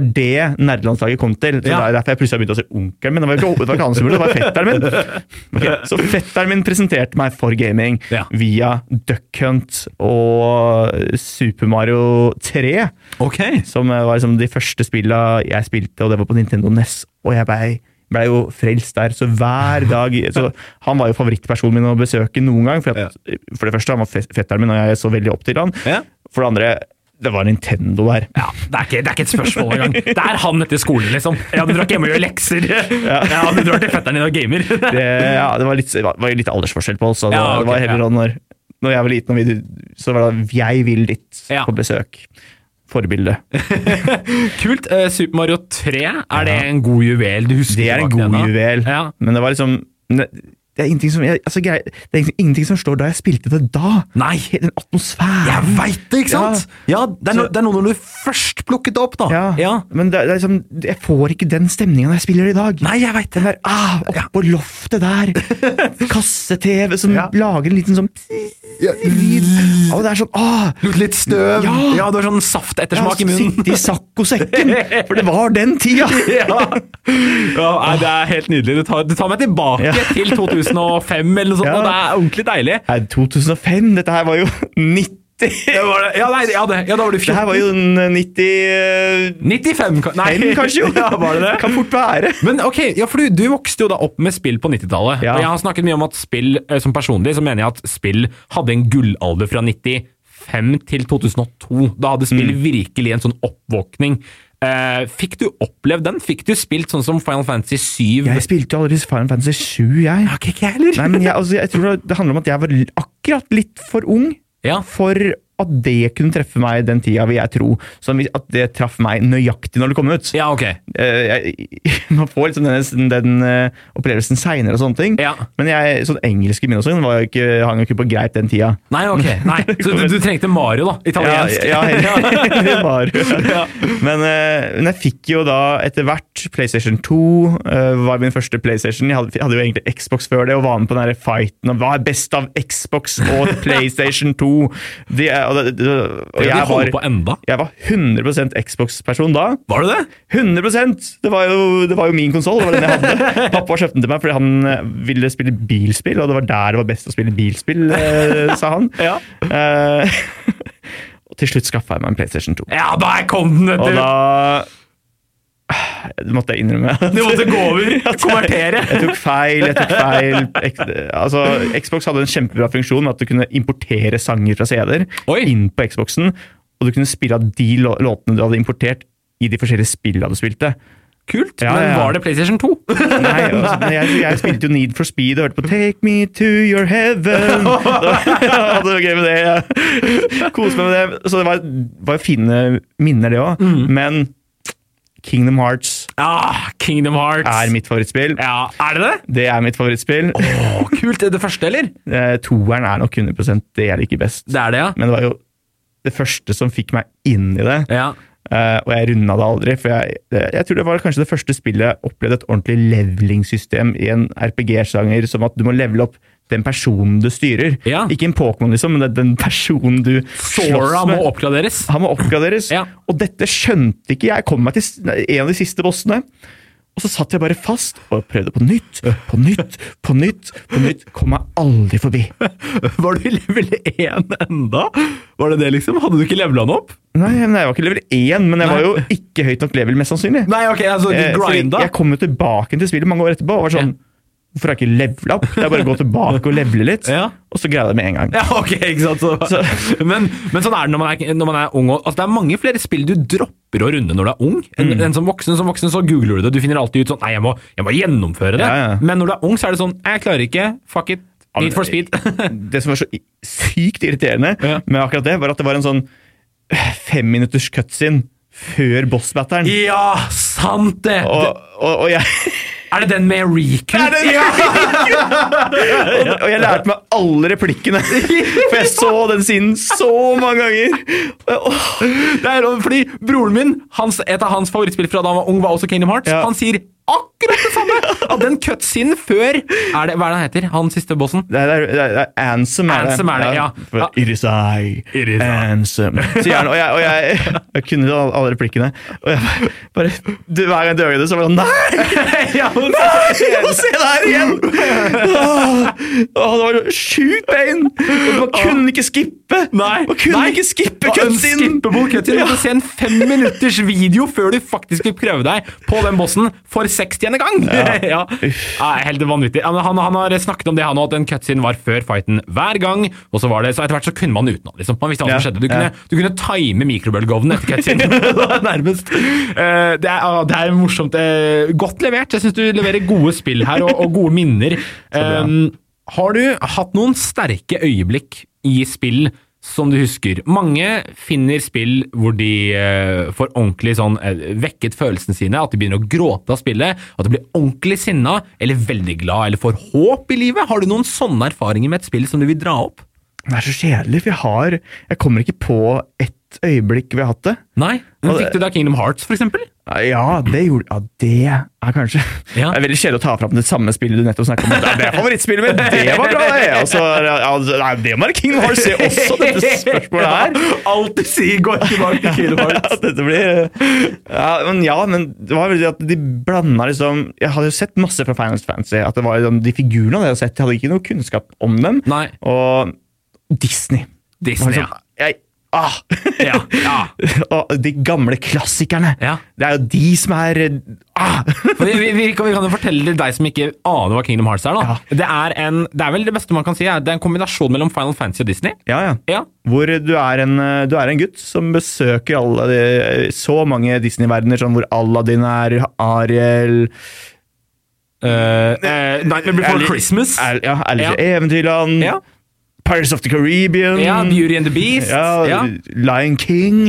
Speaker 3: det nerdelandslaget kom til. Så
Speaker 2: Ja.
Speaker 3: Det er derfor jeg plutselig har begynt å si onkelen min. Det var ikke, det var ikke han som gjorde det, det var fetteren
Speaker 2: (laughs)
Speaker 3: min. Ok, så fetteren min presenterte meg for gaming
Speaker 2: Ja.
Speaker 3: via Duck Hunt og Super Mario 3,
Speaker 2: (laughs) Ok.
Speaker 3: som var liksom de første spilla jeg spilte, og det var på Nintendo NES. Og jeg blei ble jo frelst der, så hver
Speaker 2: (laughs)
Speaker 3: dag så Han var jo favorittpersonen min å besøke noen gang. For, at, for det første, han var fe- fetteren min, og jeg så veldig opp til han.
Speaker 2: Ja.
Speaker 3: For det andre, det var Nintendo der.
Speaker 2: Ja, det er, ikke, det er ikke et spørsmål engang. Det er han etter skolen, liksom. Ja, du drar ikke hjem og gjør lekser. Ja, du drar til fetteren din og gamer.
Speaker 3: det, ja, det var litt, det var jo litt aldersforskjell på oss. så Det,
Speaker 2: Ja, ok,
Speaker 3: det var heller
Speaker 2: ja.
Speaker 3: sånn når, når jeg var liten, og vi, så var det 'jeg vil dit'
Speaker 2: Ja.
Speaker 3: på besøk. Forbilde.
Speaker 2: Kult. eh, Super Mario 3, er det en god juvel du husker?
Speaker 3: Det er en
Speaker 2: tilbake
Speaker 3: god
Speaker 2: igjen, da?
Speaker 3: juvel,
Speaker 2: Ja.
Speaker 3: men det var liksom ne- det er, ingenting som, jeg- altså, grei- det er ingenting- ingenting som slår da jeg spilte det da.
Speaker 2: Nei.
Speaker 3: Hele Den atmosfæren.
Speaker 2: Jeg veit det, ikke sant? Ja, det, er no, det er noe når du først plukket det opp, da.
Speaker 3: Ja,
Speaker 2: Ja.
Speaker 3: Men det, er- det er liksom, jeg får ikke den stemninga når jeg spiller i dag.
Speaker 2: Nei, jeg veit det.
Speaker 3: Den der, ah, Oppå loftet der.
Speaker 2: (laughs)
Speaker 3: Kasse-TV som lager en liten sånn lyd. Og det er sånn ah,
Speaker 2: Lukter litt støv. Ja.
Speaker 3: Ja.
Speaker 2: du har sånn saftettersmak i munnen.
Speaker 3: Sitte i
Speaker 2: (laughs)
Speaker 3: saccosekken! For det var den tida!
Speaker 2: Ja. ja, nei, Det er helt nydelig. Du tar, du tar meg tilbake
Speaker 3: Ja.
Speaker 2: til 2005 eller noe sånt,
Speaker 3: Ja.
Speaker 2: og det er ordentlig deilig.
Speaker 3: Nei, 2005, dette her var jo 90
Speaker 2: Det
Speaker 3: Det
Speaker 2: var det. Ja, nei, ja, det, ja, da var du 14.
Speaker 3: her var jo en eh, 95,
Speaker 2: 95, ka- nei.
Speaker 3: kanskje? jo.
Speaker 2: (laughs) Ja, var det det?
Speaker 3: Kan fort være.
Speaker 2: Men ok, ja, for du, du vokste jo da opp med spill på 90-tallet.
Speaker 3: Ja.
Speaker 2: Og jeg har snakket mye om at spill, eh, som personlig, så mener jeg at spill hadde en gullalder fra 95 til 2002. Da hadde spill
Speaker 3: Mm.
Speaker 2: virkelig en sånn oppvåkning. Eh, fikk du opplevd den? Fikk du spilt sånn som Final Fantasy 7?
Speaker 3: Jeg spilte jo aldri Final Fantasy 7, jeg.
Speaker 2: Ja, ikke jeg heller.
Speaker 3: Nei, men jeg, altså, jeg tror det handler om at jeg var l- akkurat litt for ung
Speaker 2: Ja.
Speaker 3: for at det kunne treffe meg den tida, vil jeg tro. Sånn at det traff meg nøyaktig når det kom ut.
Speaker 2: Ja, ok.
Speaker 3: Eh, jeg, (laughs) man får liksom den, den eh, opplevelsen seinere og sånne ting.
Speaker 2: Ja.
Speaker 3: Men jeg, sånn engelsken min og sånn var jo ikke, hang jo ikke på greit den tida.
Speaker 2: Nei, ok. Nei.
Speaker 3: (laughs)
Speaker 2: Så du, du trengte Mario, da. Italiensk.
Speaker 3: Ja, ja,
Speaker 2: (laughs)
Speaker 3: det var
Speaker 2: Ja.
Speaker 3: men, eh, men jeg fikk jo da etter hvert PlayStation 2 eh, var min første PlayStation. Jeg hadde, jeg hadde jo egentlig Xbox før det og var med på den der fighten om hva er best av Xbox
Speaker 2: (laughs)
Speaker 3: og PlayStation 2. De, er- og, det- det- og
Speaker 2: De
Speaker 3: jeg
Speaker 2: holder
Speaker 3: var,
Speaker 2: på enda.
Speaker 3: jeg var 100 Xbox-person da.
Speaker 2: Var det det?
Speaker 3: 100 Det var jo, det var jo min konsoll. Det var den
Speaker 2: (laughs)
Speaker 3: jeg hadde. Pappa kjøpte den til meg fordi han eh, ville spille bilspill, og det var der det var best å spille bilspill, eh, sa han.
Speaker 2: (laughs) Ja.
Speaker 3: Eh, og til slutt skaffa jeg meg en PlayStation 2.
Speaker 2: Ja, der kom den, vet
Speaker 3: Og
Speaker 2: du.
Speaker 3: da Det måtte jeg innrømme.
Speaker 2: Du måtte gå over. Konvertere.
Speaker 3: (laughs) Jeg tok feil, jeg tok feil. Ek- Altså, Xbox hadde en kjempebra funksjon med at du kunne importere sanger fra CD-er
Speaker 2: Oi.
Speaker 3: inn på Xboxen, og du kunne spille av de lå- låtene du hadde importert i de forskjellige spillene du spilte.
Speaker 2: Kult.
Speaker 3: Ja,
Speaker 2: Men
Speaker 3: ja.
Speaker 2: var det PlayStation 2?
Speaker 3: Nei, altså, nei, jeg, jeg spilte jo Need for Speed og hørte på Take me to your
Speaker 2: (laughs)
Speaker 3: heaven. Da, jeg hadde det gøy med det. jeg Koste meg med det. Så det var, var jo fine minner, det òg.
Speaker 2: Mm.
Speaker 3: Men Kingdom Hearts
Speaker 2: Ja, Ah, Kingdom Hearts.
Speaker 3: er mitt favorittspill.
Speaker 2: Ja, Er det det?
Speaker 3: Det er mitt favorittspill.
Speaker 2: Å, kult. Er det første, eller?
Speaker 3: Eh, toeren er nok 100 det jeg liker best.
Speaker 2: Det er det, ja.
Speaker 3: Men det var jo det første som fikk meg inn i det.
Speaker 2: Ja,
Speaker 3: Eh, og jeg runda det aldri, for jeg, det- jeg tror det var kanskje det første spillet jeg opplevde et ordentlig levelingsystem i en RPG-sjanger, som at du må levele opp den personen du styrer.
Speaker 2: Ja.
Speaker 3: Ikke en Pokémon, liksom, men det er den personen du
Speaker 2: Sora
Speaker 3: slåss med.
Speaker 2: må oppgraderes.
Speaker 3: Han må oppgraderes.
Speaker 2: Ja.
Speaker 3: Og dette skjønte ikke jeg. Jeg kom meg til s- en av de siste bossene. Og så satt jeg bare fast og prøvde på nytt, på nytt, på nytt. på nytt, Kom meg aldri forbi.
Speaker 2: (laughs) Var du i level 1 enda? Var det det, liksom? Hadde du ikke levela han opp?
Speaker 3: Nei, nei, jeg var ikke level 1, men jeg
Speaker 2: Nei.
Speaker 3: var jo ikke høyt nok level, mest sannsynlig.
Speaker 2: Nei, ok, altså, du
Speaker 3: Eh, fordi
Speaker 2: grinda.
Speaker 3: Jeg kom jo tilbake til spillet mange år etterpå og var sånn
Speaker 2: Ja.
Speaker 3: Hvorfor har jeg ikke levela opp? Det er bare å gå tilbake og levele litt.
Speaker 2: Ja.
Speaker 3: Og så greide jeg det med en gang.
Speaker 2: (laughs) Ja, ok, ikke sant? Så, men, men sånn er det når man er, når man er ung. og- Altså, det er mange flere spill du dropper å runde når du er ung. En, en som voksen som voksen så googler du det. Du finner alltid ut sånn Nei, jeg må, jeg må gjennomføre det.
Speaker 3: Ja, ja.
Speaker 2: Men når du er ung, så er det sånn Jeg klarer ikke. Fuck it. Need for speed.
Speaker 3: (laughs) det som var så i- sykt irriterende
Speaker 2: Ja.
Speaker 3: med akkurat det, var at det var en sånn eh, femminutters cutscene før boss-batteren.
Speaker 2: ja, sant det!
Speaker 3: Og, og, og, jeg, (laughs)
Speaker 2: Er det den med Riku?
Speaker 3: Er det den- og, og jeg lærte meg alle
Speaker 2: (laughs)
Speaker 3: replikkene, for jeg så den siden så mange ganger. Og- og-
Speaker 2: Det er lov, fordi broren min, hans, et av hans favorittspill fra da han var ung, var også Kingdom Hearts.
Speaker 3: Ja.
Speaker 2: Han sier akkurat det samme! Av den cutscenen før er det, Hva er det han heter? Han siste
Speaker 3: (laughs)
Speaker 2: bossen?
Speaker 3: Det er, det er, det er Ansem, er
Speaker 2: Ansem er det, ja.
Speaker 3: For
Speaker 2: Ja.
Speaker 3: It is I,
Speaker 2: It is I.
Speaker 3: Ansem. Sier han, og jeg, og jeg, (laughs) jeg kunne alle, alle replikkene. Og jeg bare, du, hver gang du gjør det, så var det nei!
Speaker 2: ja, men,
Speaker 3: Jeg må se det her igjen! Åh, åh, det var sjukt pain! Og Man kunne ikke skippe!
Speaker 2: Nei,
Speaker 3: Man kunne
Speaker 2: nei.
Speaker 3: ikke skippe
Speaker 2: Det var
Speaker 3: cutscenen!
Speaker 2: unskippable cutscene. Du må se en fem minutters video før du faktisk vil prøve deg på den bossen for 60. gang! (laughs) Ja. Nei, Helt vanvittig. Ja, men Han, han har snakket om det, han òg, at den cutscenen var før fighten hver gang. Og så var det, så etter hvert så kunne man utenom. liksom. Man visste hva som
Speaker 3: Ja,
Speaker 2: skjedde. Du
Speaker 3: ja.
Speaker 2: kunne, du kunne time mikrobølgeovnen etter cutscenen. Det var Nærmest. Eh, Det er, ja, det er morsomt. eh, Godt levert. Jeg syns du leverer gode spill her, og, og gode minner.
Speaker 3: bra.
Speaker 2: Um, har du hatt noen sterke øyeblikk i spill som du husker? Mange finner spill hvor de eh, får ordentlig sånn eh, vekket følelsene sine, at de begynner å gråte av spillet, at de blir ordentlig sinna, eller veldig glad, eller får håp i livet. Har du noen sånne erfaringer med et spill som du vil dra opp?
Speaker 3: Det er så kjedelig, for jeg har Jeg kommer ikke på ett øyeblikk vi har hatt det.
Speaker 2: Nei? Men
Speaker 3: Og det-
Speaker 2: fikk du det av Kingdom Hearts, for eksempel?
Speaker 3: Ja, det gjorde Ja, det er kanskje
Speaker 2: Ja.
Speaker 3: Det er veldig kjedelig å ta fram det samme spillet du nettopp snakket om. Det er det er favorittspillet mitt! Det var bra, det! Og så ja, altså, Nei, det må være Kingdom Hearts se også, dette spørsmålet her.
Speaker 2: (laughs) Ja, Alt du sier, går tilbake til Kingdom Hearts.
Speaker 3: Ja, dette blir ja, men ja, men det var veldig at de blanda liksom Jeg hadde jo sett masse fra Final Fantasy. At det var liksom, de figurene jeg hadde sett, jeg hadde ikke noe kunnskap om dem.
Speaker 2: Nei.
Speaker 3: Og Disney. Det
Speaker 2: (laughs)
Speaker 3: var
Speaker 2: Disney, ja.
Speaker 3: liksom, jeg, ah.
Speaker 2: Ja, ja.
Speaker 3: (laughs) og de gamle klassikerne.
Speaker 2: Ja.
Speaker 3: Det er jo de som er ah.
Speaker 2: For vi, vi, vi, kan, vi kan jo fortelle til deg som ikke aner hva Kingdom Hearts er. da. Det, er en, det er vel det beste man kan si, er, det er en kombinasjon mellom Final Fantasy og Disney.
Speaker 3: Ja, ja.
Speaker 2: Ja.
Speaker 3: Hvor du er, en, eh, du er en gutt som besøker alle de, så mange Disney-verdener, sånn hvor Aladdin er, Ariel
Speaker 2: Uh, Nightmare Before
Speaker 3: Alice-
Speaker 2: Christmas.
Speaker 3: Al- ja, Alice
Speaker 2: Ja.
Speaker 3: i Eventyrland.
Speaker 2: Ja.
Speaker 3: Pirates of the Caribbean.
Speaker 2: ja, Beauty and the Beast.
Speaker 3: Ja,
Speaker 2: Ja. Mhm.
Speaker 3: Lion King.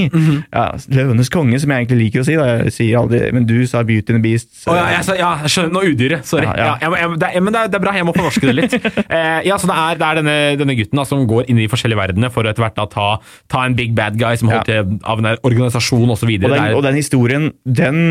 Speaker 3: ja, Løvenes konge, som jeg egentlig liker å si. Da. Jeg sier aldri, men du sa Beauty and the Beast. så-
Speaker 2: Å ja, jeg sa, ja, jeg skjønner. Nå udyret. Sorry.
Speaker 3: Ja,
Speaker 2: Ja,
Speaker 3: ja.
Speaker 2: jeg må- jeg må- det er, men det er, det er bra, jeg må fornorske det litt.
Speaker 3: (laughs)
Speaker 2: Eh, ja, så Det er, det er denne, denne gutten da, som går inn i de forskjellige verdenene for å etter hvert da ta, ta en big bad guy som holder
Speaker 3: Ja.
Speaker 2: til av en organisasjon osv.
Speaker 3: Og den, og den historien, den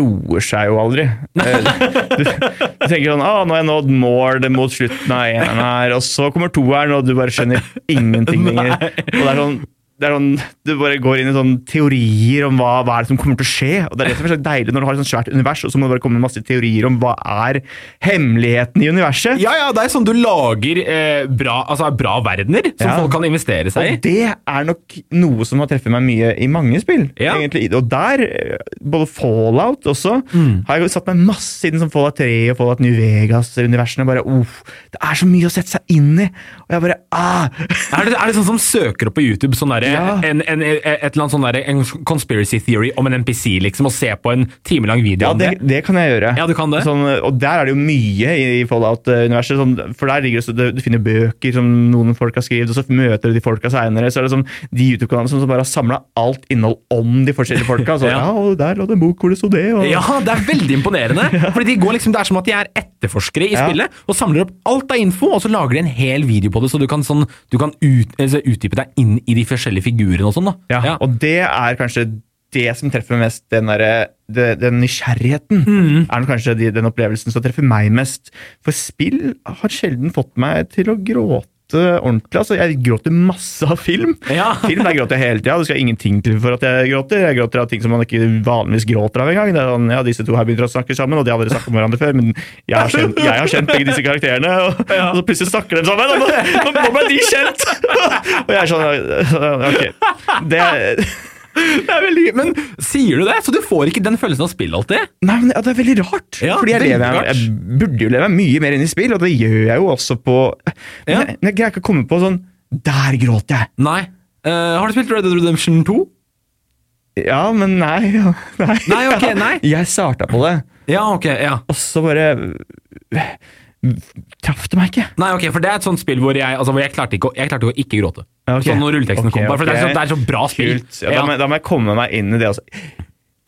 Speaker 3: roer seg jo aldri. Eh, Du, du tenker sånn ah, 'Nå har jeg nådd målet mot slutten av eneren her', og så kommer toeren, og du bare skjønner ingenting lenger. Og det er sånn, det er sånn, Du bare går inn i sånne teorier om hva, hva er det som kommer til å skje. og Det er det som er så deilig når du har et sånt svært univers, og så må det bare komme masse teorier om hva er hemmeligheten i universet.
Speaker 2: Ja, ja, det er sånn du lager eh, bra, altså, bra verdener som
Speaker 3: Ja.
Speaker 2: folk kan investere seg i.
Speaker 3: Og det er nok noe som har treffet meg mye i mange spill.
Speaker 2: Ja.
Speaker 3: egentlig. Og der, eh, både Fallout også,
Speaker 2: Mm.
Speaker 3: har jeg jo satt meg masse inn som Fallout 3 og Fallout New Vegas-universene. bare, uff, Det er så mye å sette seg inn i! Og jeg bare ah!
Speaker 2: Er det, er det sånn som søker opp på YouTube sånn derre-
Speaker 3: Ja.
Speaker 2: en, en, et eller annet sånn derre- en conspiracy theory om en NPC, liksom, og se på en timelang video
Speaker 3: Ja,
Speaker 2: om
Speaker 3: det,
Speaker 2: det?
Speaker 3: det kan jeg gjøre.
Speaker 2: Ja, du kan det.
Speaker 3: Sånn, og der er det jo mye i i Fallout-universet. Sånn, for der ligger det, så du, du finner bøker som noen folk har skrevet, og så møter du de folka seinere. Så er det sånn, de YouTube-kanalene som, som bare har samla alt innhold om de forskjellige folka. Så, ja.
Speaker 2: (laughs) Ja.
Speaker 3: og der lå det en bok hvor det sto det. Og,
Speaker 2: Ja, det er veldig imponerende!
Speaker 3: (laughs)
Speaker 2: Fordi de går liksom, Det er som at de er etterforskere i
Speaker 3: Ja.
Speaker 2: spillet og samler opp alt av info, og så lager de en hel video på det, så du kan, sånn, du kan ut, altså, utdype deg inn i de forskjellige figurene og sånn. da.
Speaker 3: Ja,
Speaker 2: Ja.
Speaker 3: Og det er kanskje det som treffer meg mest, den, derre- det- den nysgjerrigheten. Er nok kanskje de, den opplevelsen som treffer meg mest. For spill har sjelden fått meg til å gråte ordentlig. altså Jeg gråter masse av film.
Speaker 2: Ja.
Speaker 3: (laughs) Film der gråter jeg hele tida. Det skal ingenting til for at jeg gråter. Jeg gråter av ting som man ikke vanligvis gråter av engang. Det er sånn, ja, disse to her begynner å snakke sammen, og de har aldri snakket om hverandre før, men jeg har kjent, jeg har kjent begge disse karakterene, (laughs) og, og så plutselig snakker de sammen. Og nå, nå ble de (laughs) kjent! og jeg er sånn Ok. Det er,
Speaker 2: Det er veldig gøy, Men sier du det? Så du får ikke den følelsen av spill alltid?
Speaker 3: Nei, men ja, det er veldig rart.
Speaker 2: Ja,
Speaker 3: Fordi jeg,
Speaker 2: veldig
Speaker 3: lever,
Speaker 2: rart.
Speaker 3: jeg burde jo leve meg mye mer inn i spill, og det gjør jeg jo også på Men
Speaker 2: Ja.
Speaker 3: jeg, men jeg greier ikke å komme på sånn Der gråter jeg!
Speaker 2: Nei. Eh, har du spilt Red Dead Redemption 2?
Speaker 3: Ja, men nei. ja, Nei,
Speaker 2: Nei,
Speaker 3: (laughs)
Speaker 2: ok, nei.
Speaker 3: Jeg starta på det,
Speaker 2: Ja, ok. ja.
Speaker 3: og så bare Traff det meg ikke.
Speaker 2: Nei, ok, for det er et sånt spill hvor jeg, altså, hvor jeg, klarte, ikke å, jeg klarte jo å ikke gråte.
Speaker 3: Ja, ok.
Speaker 2: Sånn når rulleteksten
Speaker 3: Ok,
Speaker 2: kom. Bare, for det, er
Speaker 3: ok.
Speaker 2: så, det er så bra spill.
Speaker 3: Kult. Ja, da, må, jeg- da må jeg komme meg inn i det. Altså.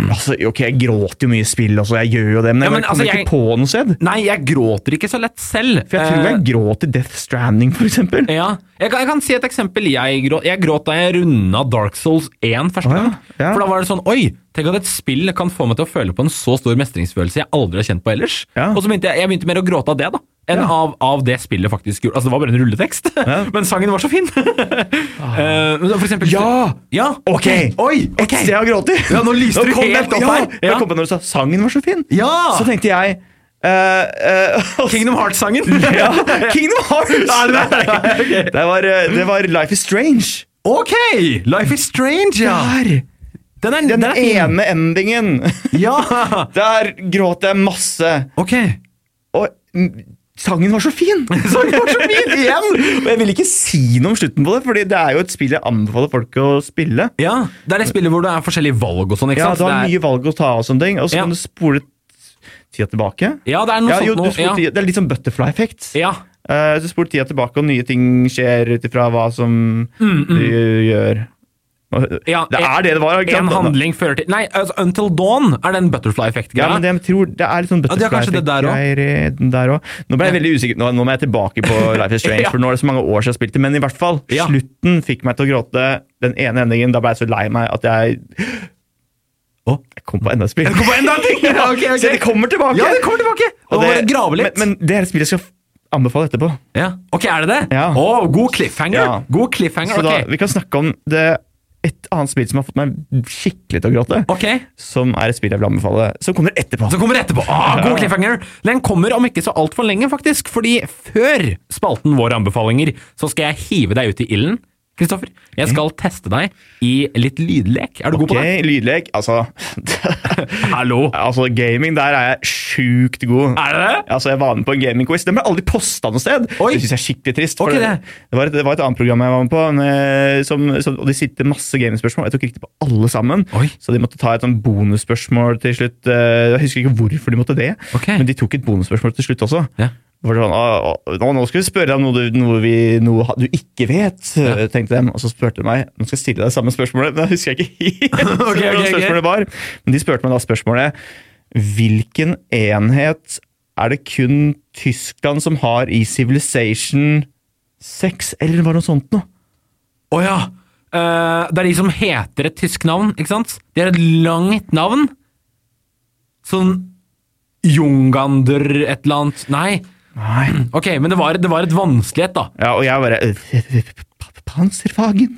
Speaker 3: Altså, ok, Jeg gråter jo mye i spill, også, jeg gjør jo det, men
Speaker 2: Ja,
Speaker 3: jeg
Speaker 2: men
Speaker 3: bare kommer
Speaker 2: altså, jeg-
Speaker 3: ikke på noe sted.
Speaker 2: Nei, jeg gråter ikke så lett selv.
Speaker 3: For jeg tror jeg gråt i Death Stranding, for eksempel.
Speaker 2: Eh, ja. jeg, kan, jeg kan si et eksempel. Jeg, grå, jeg gråt da jeg runda Dark Souls 1 første
Speaker 3: Å, ja.
Speaker 2: gang.
Speaker 3: Ja.
Speaker 2: For da var det sånn Oi! Tenk at et spill kan få meg til å føle på en så stor mestringsfølelse jeg aldri har kjent på ellers.
Speaker 3: Ja.
Speaker 2: Og så begynte jeg, jeg begynte mer å gråte av det, da. Enn
Speaker 3: Ja.
Speaker 2: av, av det spillet faktisk gjorde. Altså, det var bare en rulletekst, (laughs) men sangen var så fin! Eh, men for eksempel
Speaker 3: Ah. Ja!
Speaker 2: ja!
Speaker 3: Ok!
Speaker 2: Oi!
Speaker 3: Et sted jeg har grått i!
Speaker 2: Ja, nå lyste du
Speaker 3: kom
Speaker 2: helt
Speaker 3: jeg-
Speaker 2: opp
Speaker 3: ja,
Speaker 2: her.
Speaker 3: Jeg
Speaker 2: Ja.
Speaker 3: kom på når du sa 'sangen var så fin'.
Speaker 2: Ja!
Speaker 3: Så tenkte jeg eh, eh, (laughs)
Speaker 2: Kingdom Hearts-sangen!
Speaker 3: ja, Kingdom Hearts!
Speaker 2: Nei, nei,
Speaker 3: (laughs)
Speaker 2: nei, ok.
Speaker 3: Det, var, eh, det var Life is Strange.
Speaker 2: (laughs) Ok! Life is strange, ja!
Speaker 3: Der!
Speaker 2: Den er,
Speaker 3: Den
Speaker 2: den er fin.
Speaker 3: ene endingen.
Speaker 2: (laughs)
Speaker 3: (laughs)
Speaker 2: Ja!
Speaker 3: Der gråt jeg masse.
Speaker 2: Ok.
Speaker 3: Og mm, sangen var (laughs)
Speaker 2: (laughs)
Speaker 3: så fin!
Speaker 2: Sangen var så fin igjen!
Speaker 3: Og jeg vil ikke si noe om slutten på det, Fordi det er jo et spill jeg anbefaler folk å spille.
Speaker 2: Ja, Det er det spillet hvor det er forskjellige valg og sånn, ikke
Speaker 3: Ja,
Speaker 2: sant?
Speaker 3: Du har
Speaker 2: det er,
Speaker 3: mye valg å ta, og sånne ting Og så
Speaker 2: Ja.
Speaker 3: kan du spole tida tilbake.
Speaker 2: ja, det er noe
Speaker 3: Ja, jo,
Speaker 2: sånt
Speaker 3: du
Speaker 2: noe.
Speaker 3: spoler
Speaker 2: Ja.
Speaker 3: tida- Det er litt sånn butterfly effect.
Speaker 2: ja.
Speaker 3: Eh, så spoler tida tilbake, og nye ting skjer ut ifra hva som du gjør. Og-
Speaker 2: Mm, Ja,
Speaker 3: det er det det var. ikke
Speaker 2: En
Speaker 3: sant?
Speaker 2: handling fører til Nei, altså, Until Dawn er den butterfly-effekt-greia.
Speaker 3: Ja, men det, jeg tror, det er litt sånn
Speaker 2: Ja, det er kanskje det der også.
Speaker 3: butterfly-greier i den der òg. Nå ble jeg veldig usikker. Nå, nå må jeg tilbake
Speaker 2: (laughs)
Speaker 3: på Life is Strange,
Speaker 2: Ja.
Speaker 3: for nå er det så mange år siden jeg spilte. Men i hvert fall,
Speaker 2: Ja.
Speaker 3: slutten fikk meg til å gråte. Den ene endingen, da ble jeg så lei meg at jeg Å, jeg kom på enda et spill.
Speaker 2: Kom på enda en ting!
Speaker 3: (laughs) Ja,
Speaker 2: Ok, ok.
Speaker 3: Så det kommer tilbake.
Speaker 2: Ja, det kommer tilbake!
Speaker 3: Og
Speaker 2: Og
Speaker 3: det-
Speaker 2: grave litt.
Speaker 3: Men, men det er et spill jeg skal f- anbefale etterpå.
Speaker 2: ja. Ok, er det det?
Speaker 3: Ja.
Speaker 2: Å, god cliffhanger!
Speaker 3: Ja.
Speaker 2: God cliffhanger,
Speaker 3: Så da,
Speaker 2: ok.
Speaker 3: vi kan snakke om det et annet spill som har fått meg skikkelig til å gråte.
Speaker 2: Ok.
Speaker 3: Som er et spill jeg vil anbefale, som kommer etterpå.
Speaker 2: Så kommer det etterpå. Ah,
Speaker 3: Ja.
Speaker 2: god cliffhanger! Den kommer om ikke så altfor lenge, faktisk. Fordi før spalten vår anbefalinger, så skal jeg hive deg ut i ilden. Kristoffer, jeg skal teste deg i litt lydlek. Er du god
Speaker 3: Mm. Ok,
Speaker 2: på det?
Speaker 3: lydlek.
Speaker 2: (laughs)
Speaker 3: Altså
Speaker 2: Hallo!
Speaker 3: Altså, gaming, der er jeg sjukt god.
Speaker 2: Er det det?
Speaker 3: Altså, Jeg var med på en gamingquiz. Den ble aldri posta noe sted!
Speaker 2: Oi.
Speaker 3: Det synes jeg er skikkelig trist. for
Speaker 2: Ok,
Speaker 3: det,
Speaker 2: det.
Speaker 3: det, var et, det var et annet program jeg var med på, men, eh, som, som, og de stilte masse gamingspørsmål. Jeg tok riktig på alle sammen,
Speaker 2: Oi.
Speaker 3: så de måtte ta et sånn bonusspørsmål til slutt. Eh, Jeg husker ikke hvorfor de måtte det,
Speaker 2: Ok.
Speaker 3: men de tok et bonusspørsmål til slutt også.
Speaker 2: Ja.
Speaker 3: Hvor det var sånn, «Å, å, nå, nå skal vi spørre deg om noe du, noe vi, noe ha- du ikke vet,
Speaker 2: Ja.
Speaker 3: tenkte de. Og så spurte de meg Nå skal jeg stille deg samme spørsmålet, (laughs) men jeg husker
Speaker 2: (laughs)
Speaker 3: jeg ikke helt
Speaker 2: Ok, ok,
Speaker 3: hvordan
Speaker 2: ok.
Speaker 3: spørsmålet var. Men de spurte meg da spørsmålet Hvilken enhet er det kun Tyskland som har i Civilization 6, eller var det noe sånt noe?
Speaker 2: Å ja! Eh, det er de som heter et tysk navn, ikke sant? De har et langt navn. Sånn Jungander et eller annet Nei.
Speaker 3: Nei.
Speaker 2: Ok, men det var, det var et vanskelighet, da.
Speaker 3: Ja, og jeg bare «Øh, Panserfagen,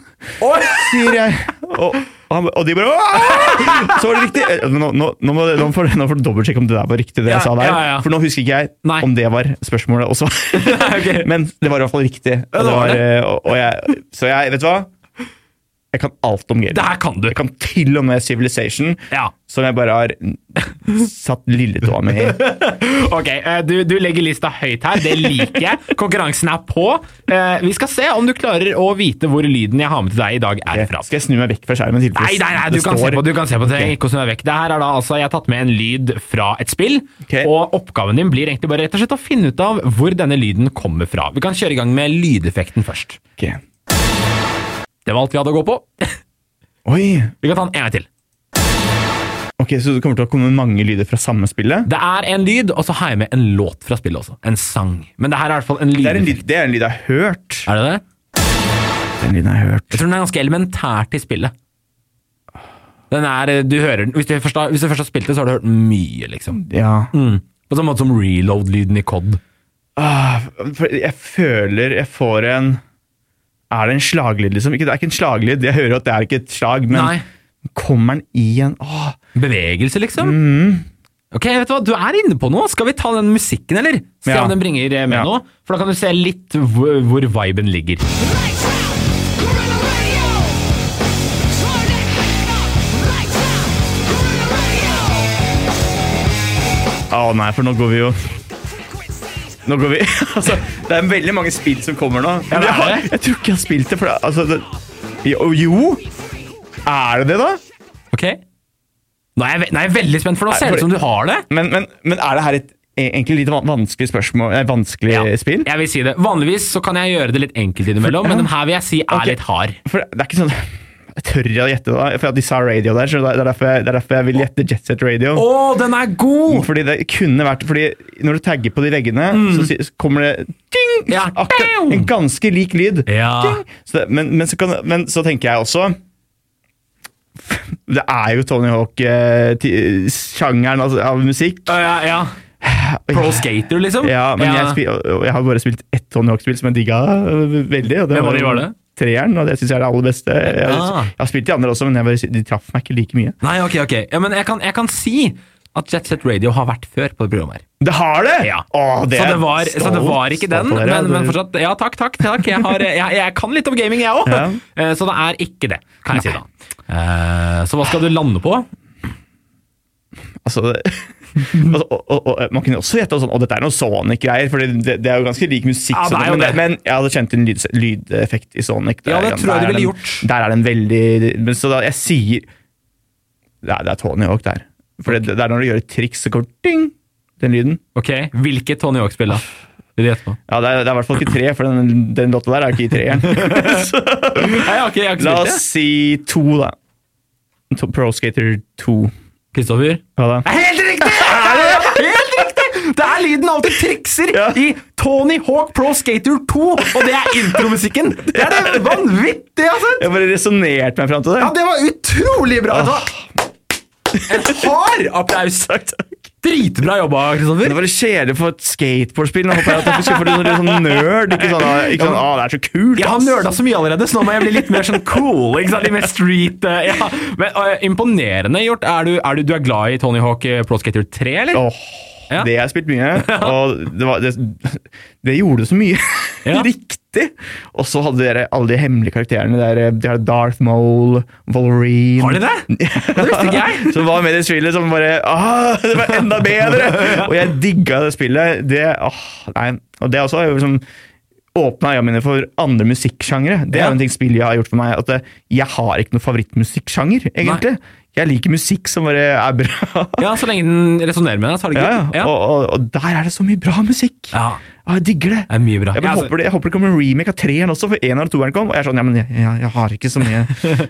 Speaker 3: sier jeg. Og, og, han, og de bare «Åh!» Så var det riktig. Eh, Nå, nå, nå, må, nå får nå får du dobbeltsjekke om det der var riktig, det
Speaker 2: Ja,
Speaker 3: jeg sa der.
Speaker 2: ja, ja.
Speaker 3: For nå husker ikke jeg
Speaker 2: Nei.
Speaker 3: om det var spørsmålet også.
Speaker 2: (laughs) ok.
Speaker 3: Men det var i hvert fall riktig. Og
Speaker 2: det
Speaker 3: det
Speaker 2: var
Speaker 3: var,
Speaker 2: det.
Speaker 3: eh, og, og jeg, så jeg, vet du hva? Jeg kan alt om
Speaker 2: Det
Speaker 3: gaming.
Speaker 2: her kan du.
Speaker 3: Jeg kan til og med Civilization,
Speaker 2: Ja.
Speaker 3: som jeg bare har satt lilletåa mi i.
Speaker 2: (laughs) Ok, eh, du, du legger lista høyt her, det liker jeg. Konkurransen er på. Eh, Vi skal se om du klarer å vite hvor lyden jeg har med til deg i dag er fra.
Speaker 3: Skal jeg snu meg vekk fra skjermen? i tilfelle
Speaker 2: Nei, nei, nei, du
Speaker 3: det
Speaker 2: kan se
Speaker 3: står-
Speaker 2: på, du kan se på det. Ikke hvordan du er vekk. Det her er da altså, jeg har tatt med en lyd fra et spill,
Speaker 3: Ok.
Speaker 2: og oppgaven din blir egentlig bare rett og slett å finne ut av hvor denne lyden kommer fra. Vi kan kjøre i gang med lydeffekten først.
Speaker 3: Ok.
Speaker 2: Det var alt vi hadde å gå på.
Speaker 3: Oi,
Speaker 2: Vi kan ta den en gang til.
Speaker 3: Ok, Så det kommer til å komme mange lyder fra samme spillet?
Speaker 2: Det er en lyd, og så har jeg med en låt fra spillet også. En sang. Men det her er i hvert fall en
Speaker 3: Det er en
Speaker 2: lyd.
Speaker 3: lyd, det er en lyd jeg har hørt.
Speaker 2: Er det det?
Speaker 3: Den lyden jeg har hørt.
Speaker 2: Jeg tror den er ganske elementær til spillet. Den er, du hører den, hvis du, først har, hvis du først har spilt det, så har du hørt den mye, liksom.
Speaker 3: Ja.
Speaker 2: På samme måte som reload-lyden i COD.
Speaker 3: Ah, for jeg føler jeg får en Er det en slaglyd, liksom? Ikke, det er ikke en slaglyd, jeg hører at det er ikke et slag, men
Speaker 2: Nei.
Speaker 3: kommer den i en Åh,
Speaker 2: Bevegelse, liksom.
Speaker 3: Mm.
Speaker 2: Ok, vet Du hva, du er inne på noe! Skal vi ta den musikken, eller? Se
Speaker 3: Ja.
Speaker 2: om den bringer eh, med
Speaker 3: Ja.
Speaker 2: noe. For da kan du se litt hvor, hvor viben ligger.
Speaker 4: Lights out, Gorilla Radio. Turn that thing up. Lights out, Gorilla Radio.
Speaker 3: Å nei, for nå går vi jo Nå går vi (laughs) Altså, det er veldig mange spill som kommer nå.
Speaker 2: det er
Speaker 3: jeg, har,
Speaker 2: det.
Speaker 3: jeg tror ikke jeg har spilt det, for det, altså det, jo, jo! Er det det, da?
Speaker 2: Ok? Nå er jeg, ve- nå er jeg veldig spent, for nå
Speaker 3: Nei,
Speaker 2: ser
Speaker 3: for-
Speaker 2: det ut som du har det.
Speaker 3: Men, men, men er det her et e- egentlig litt van- vanskelig spørsmål eh, Vanskelig
Speaker 2: Ja,
Speaker 3: spill?
Speaker 2: Jeg vil si det. Vanligvis så kan jeg gjøre det litt enkelt innimellom,
Speaker 3: For- ja.
Speaker 2: men den her vil jeg si er
Speaker 3: Ok.
Speaker 2: litt hard.
Speaker 3: For det er ikke sånn Jeg tør å gjette, da, for at de sa radio der, så det er derfor jeg, det er derfor jeg vil gjette Jet Set Radio.
Speaker 2: Å, den er god!
Speaker 3: Fordi det kunne vært Fordi når du tagger på de veggene, så, si- så kommer det ding,
Speaker 2: Mm. Ja.
Speaker 3: akkurat, en ganske lik lyd.
Speaker 2: Ja.
Speaker 3: Ding! Så det, men, men, så kan, men så tenker jeg også Det er jo Tony eh, Hawk-sjangeren altså, av musikk.
Speaker 2: Ja, ja, ja. Pro skater, liksom?
Speaker 3: (laughs) Ja, men Jeg, spil, og jeg har bare spilt ett Tony Hawk-spill som jeg digga øh, veldig. Og det
Speaker 2: Hvem av de var det?
Speaker 3: Treeren, og det syns jeg er det aller beste. Jeg,
Speaker 2: Ah.
Speaker 3: jeg har spilt de andre også, men jeg bare, de traff meg ikke like mye.
Speaker 2: Nei, ok, ok. Ja, men jeg kan, jeg kan si at Jet Set Radio har vært før på det programmet her.
Speaker 3: Det har det!
Speaker 2: Ja.
Speaker 3: Åh, det
Speaker 2: så,
Speaker 3: er
Speaker 2: det var, så det var ikke
Speaker 3: stolt
Speaker 2: den,
Speaker 3: av dere.
Speaker 2: men, men
Speaker 3: Det-
Speaker 2: fortsatt Ja, takk, takk. takk. Jeg, har, jeg, jeg kan litt om gaming, jeg òg.
Speaker 3: Ja.
Speaker 2: Så det er ikke det, kan jeg si da. Eh, Så hva skal du lande på?
Speaker 3: Altså, det, (laughs) altså, og, og, og, man kunne også gjette sånn, og dette er noe Sonic-greier, for det, det, det er jo ganske lik musikk.
Speaker 2: Ja, det
Speaker 3: sånn,
Speaker 2: er jo
Speaker 3: men,
Speaker 2: det.
Speaker 3: men jeg hadde kjent en lyd, lydeffekt i Sonic.
Speaker 2: Ja, det
Speaker 3: er-
Speaker 2: tror jeg du
Speaker 3: der er
Speaker 2: ville
Speaker 3: den-
Speaker 2: gjort.
Speaker 3: Der er den veldig men Så da, jeg sier Nei, det er Tony Hawk der. For det, det er når du gjør et triks, så går ding, den lyden.
Speaker 2: Ok, Hvilket Tony Hawk-spill, da? Vil du gjette
Speaker 3: (laughs)
Speaker 2: på?
Speaker 3: Ja, det er, det er i hvert fall ikke tre, for den, den låta der er ikke i
Speaker 2: (laughs)
Speaker 3: treeren. Så
Speaker 2: Nei, jeg har ikke, jeg har ikke spilt
Speaker 3: La oss
Speaker 2: det.
Speaker 3: si to, da. To, Pro Skater 2.
Speaker 2: Kristoffer?
Speaker 3: Hva da?
Speaker 2: Helt (laughs) riktig! Helt riktig! Det er lyden av at du trikser
Speaker 3: Ja.
Speaker 2: i Tony Hawk Pro Skater 2, og det er intromusikken! Det er det vanvittige, altså!
Speaker 3: Jeg bare resonnerte meg fram til det.
Speaker 2: Ja, det var utrolig bra! En hard applaus!
Speaker 3: Takk, (laughs) takk.
Speaker 2: Dritbra jobba,
Speaker 3: Men
Speaker 2: Kristoffer.
Speaker 3: det var litt kjedelig på et skateboardspill. Nå håper jeg at jeg skal få det sånn, sånn nerd. Ikke sånn, ah, ikke sånn ah, 'det er så kult'.
Speaker 2: Jeg har
Speaker 3: ass».
Speaker 2: nerda så mye allerede, så nå må jeg bli litt mer sånn cool. ikke sant? Litt mer street. eh, Ja. Men eh, Imponerende gjort. Er du, er du, du er glad i Tony Hawk eh, Pro Skater 3, eller?
Speaker 3: (laughs) Åh,
Speaker 2: (laughs) Ja.
Speaker 3: Det har jeg spilt mye, og det, var, det, det gjorde så mye (laughs)
Speaker 2: Ja.
Speaker 3: riktig. Og så hadde dere alle de hemmelige karakterene. Der, eh, de har Darth Mole, Wolverine
Speaker 2: Har de
Speaker 3: (laughs)
Speaker 2: det? Det visste ikke jeg.
Speaker 3: Som var med i det spillet som bare ah, Det var enda bedre!
Speaker 2: (laughs)
Speaker 3: Og jeg digga det spillet. Det, åh, nei. Og det også har jo liksom åpna øya mine for andre musikksjangre. Det er
Speaker 2: Ja.
Speaker 3: jo en ting spillet har gjort for meg. At det, jeg har ikke noen favorittmusikksjanger, egentlig. Jeg liker musikk som bare er bra.
Speaker 2: Ja, så lenge den resonnerer med deg, så har det
Speaker 3: Ja,
Speaker 2: gøy.
Speaker 3: ja. Og, og, og der er det så mye bra musikk!
Speaker 2: Ja.
Speaker 3: Ah, jeg digger det.
Speaker 2: Det er mye bra.
Speaker 3: Jeg, bare
Speaker 2: Ja, altså-
Speaker 3: håper det, jeg håper det kommer en remake av treeren også, for en av toeren kom. Og jeg er sånn, ja, men jeg, jeg, jeg har ikke så
Speaker 2: (laughs)
Speaker 3: mye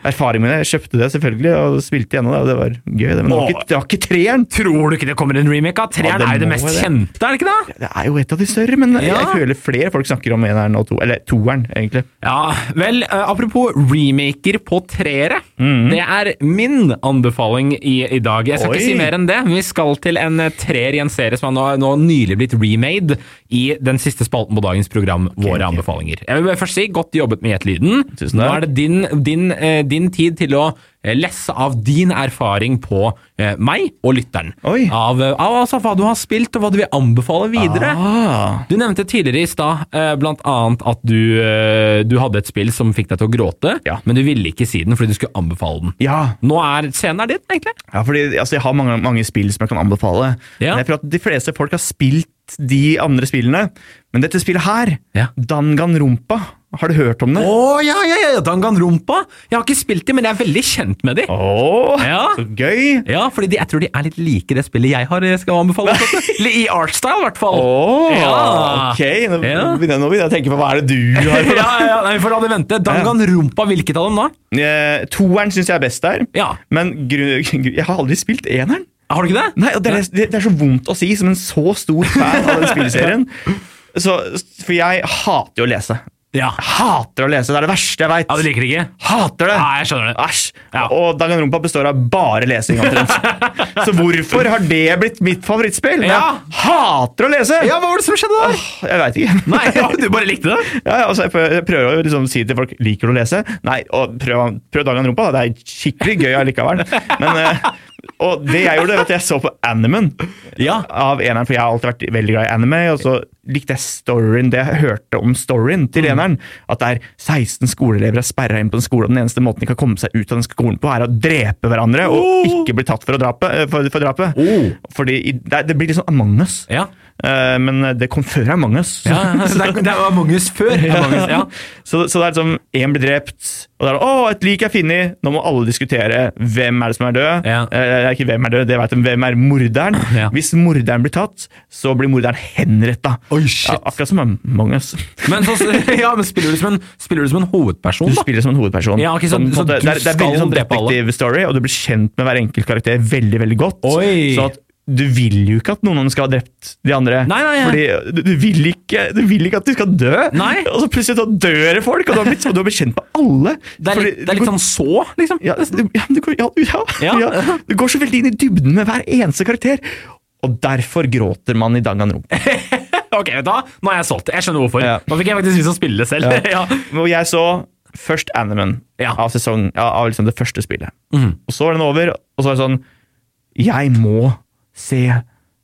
Speaker 3: erfaring med det. Jeg kjøpte det selvfølgelig, og spilte gjennom det, og det var gøy. Det, men det var ikke, det var ikke treeren!
Speaker 2: Tror du ikke det kommer en remake? av? Treeren
Speaker 3: Ja, det
Speaker 2: er jo det
Speaker 3: må
Speaker 2: mest
Speaker 3: jo det.
Speaker 2: kjente, er det ikke det?
Speaker 3: Det er jo et av de større, men jeg,
Speaker 2: Ja.
Speaker 3: jeg føler flere folk snakker om eneren og to, eller toeren, egentlig.
Speaker 2: Ja, vel, eh, apropos remaker på treere.
Speaker 3: Mhm.
Speaker 2: Det er min anbefaling i, i dag. Jeg skal
Speaker 3: Oi.
Speaker 2: ikke si mer enn det. Vi skal til en eh, treer i en serie som har nå, nå nylig blitt remade i den siste spalten på dagens program, Våre
Speaker 3: ok.
Speaker 2: anbefalinger. Jeg vil bare først si godt jobbet med Gjetelyden.
Speaker 3: Tusen
Speaker 2: Nå
Speaker 3: takk.
Speaker 2: er det din, din, eh, din tid til å eh, lesse av din erfaring på eh, meg og lytteren.
Speaker 3: Oi.
Speaker 2: Av, eh, av altså, hva du har spilt, og hva du vil anbefale videre.
Speaker 3: Ah.
Speaker 2: Du nevnte tidligere i stad eh, blant annet at du, eh, du hadde et spill som fikk deg til å gråte,
Speaker 3: Ja.
Speaker 2: men du ville ikke si den fordi du skulle anbefale den.
Speaker 3: Ja,
Speaker 2: Nå er scenen er din, egentlig.
Speaker 3: ja fordi altså, jeg har mange, mange spill som jeg kan anbefale.
Speaker 2: Ja.
Speaker 3: Men jeg tror at de fleste folk har spilt de andre spillene. Men dette spillet her,
Speaker 2: Ja.
Speaker 3: Danganronpa, har du hørt om det?
Speaker 2: Å ja, ja, ja, Danganrumpa! Jeg har ikke spilt de, men jeg er veldig kjent med de.
Speaker 3: Åh,
Speaker 2: Ja.
Speaker 3: så gøy!
Speaker 2: Ja, fordi de, jeg tror de er litt like det spillet jeg har, eh, skal (laughs) anbefale. Eller I artstyle, i hvert fall.
Speaker 3: Åh,
Speaker 2: Ja.
Speaker 3: ok. Nå
Speaker 2: Ja.
Speaker 3: begynner jeg- nå begynner jeg å tenke på hva er det du
Speaker 2: (laughs) ja,
Speaker 3: har for
Speaker 2: ja, ja, nei, for la det vente. Danganrumpa, hvilket av dem da?
Speaker 3: Eh, toeren syns jeg er best der,
Speaker 2: Ja.
Speaker 3: men gru, gru, jeg har aldri spilt eneren.
Speaker 2: Har du ikke det?
Speaker 3: Nei, og det, er, det, det er så vondt å si som en så stor fan av den
Speaker 2: (laughs)
Speaker 3: spilleserien. Så, for jeg hater jo å lese.
Speaker 2: Ja.
Speaker 3: Jeg Hater å lese, det er det verste jeg
Speaker 2: ja, du
Speaker 3: veit.
Speaker 2: liker det ikke?
Speaker 3: Hater det!
Speaker 2: Nei, jeg skjønner det.
Speaker 3: Æsj!
Speaker 2: Ja.
Speaker 3: Og Danganronpa består av bare
Speaker 2: (laughs)
Speaker 3: lesing. omtrent. så hvorfor har det blitt mitt favorittspill?
Speaker 2: Ja.
Speaker 3: Jeg hater å lese!
Speaker 2: Ja, hva var det som skjedde da?
Speaker 3: Jeg veit ikke.
Speaker 2: Nei, (laughs) ja, du bare likte det?
Speaker 3: Ja, ja, altså, jeg prøver- jeg prøver å liksom si til folk liker du å lese. Nei, og prøv, prøv Danganronpa. da. Det er skikkelig gøy allikevel. Men, eh, og det jeg gjorde, var at jeg så på animen
Speaker 2: Ja.
Speaker 3: av eneren, for jeg har alltid vært veldig glad i anime. Og så likte jeg storyen, det jeg hørte om storyen til
Speaker 2: Mm.
Speaker 3: eneren. At det er 16 skoleelever er sperra inn på en skole, og den eneste måten de kan komme seg ut av den skolen på, er å drepe hverandre og
Speaker 2: Oh.
Speaker 3: ikke bli tatt for, å drape, eh, for, for drapet.
Speaker 2: Oh.
Speaker 3: Fordi i- det, det blir liksom Among us.
Speaker 2: Ja.
Speaker 3: Eh, Men det kom før Among us. (laughs)
Speaker 2: Ja, ja, så det, er, det var Magnus før. (laughs) Ja. Magnus, ja.
Speaker 3: Så, så det er liksom én blir drept, og det er å, et lik er funnet. Nå må alle diskutere hvem er det som er død.
Speaker 2: Ja.
Speaker 3: Eh, ikke hvem er død, det vet de. Hvem er morderen?
Speaker 2: Ja.
Speaker 3: Hvis morderen blir tatt, så blir morderen henretta.
Speaker 2: Oi,
Speaker 3: Ja,
Speaker 2: shit.
Speaker 3: akkurat som Among us.
Speaker 2: Men, så, (laughs) ja, men spiller, du som en, spiller du som en hovedperson,
Speaker 3: Du
Speaker 2: da?
Speaker 3: spiller som en hovedperson.
Speaker 2: Ja, ok, så-
Speaker 3: Sånn, på
Speaker 2: så
Speaker 3: en måte,
Speaker 2: du
Speaker 3: det, er, det er veldig
Speaker 2: skal
Speaker 3: sånn
Speaker 2: drepe alle.
Speaker 3: detektiv story, og du blir kjent med hver enkelt karakter veldig veldig godt.
Speaker 2: Oi.
Speaker 3: Så at du vil jo ikke at noen av dem skal ha drept de andre.
Speaker 2: Nei, nei,
Speaker 3: Fordi du, du, vil ikke, du vil ikke at de skal dø.
Speaker 2: Nei.
Speaker 3: Og så plutselig så dør det folk, og du har blitt, og du har blitt kjent med alle.
Speaker 2: Det er,
Speaker 3: Fordi
Speaker 2: litt, det
Speaker 3: du
Speaker 2: er litt
Speaker 3: går-
Speaker 2: sånn så, liksom.
Speaker 3: ja, det- ja, men du, går- ja, ja,
Speaker 2: Ja.
Speaker 3: ja. Du går så veldig inn i dybden med hver eneste karakter. Og derfor gråter man i Danganronpa.
Speaker 2: (laughs) Ok, vet du hva? Nå er jeg solgt. Jeg skjønner hvorfor.
Speaker 3: Ja.
Speaker 2: Nå fikk jeg faktisk lyst til å spille det selv. (laughs) Ja.
Speaker 3: Og jeg så først Animan
Speaker 2: Ja. Mhm.
Speaker 3: av, sesong, ja, av liksom det første spillet. Og så var den over, og så var det sånn Jeg må se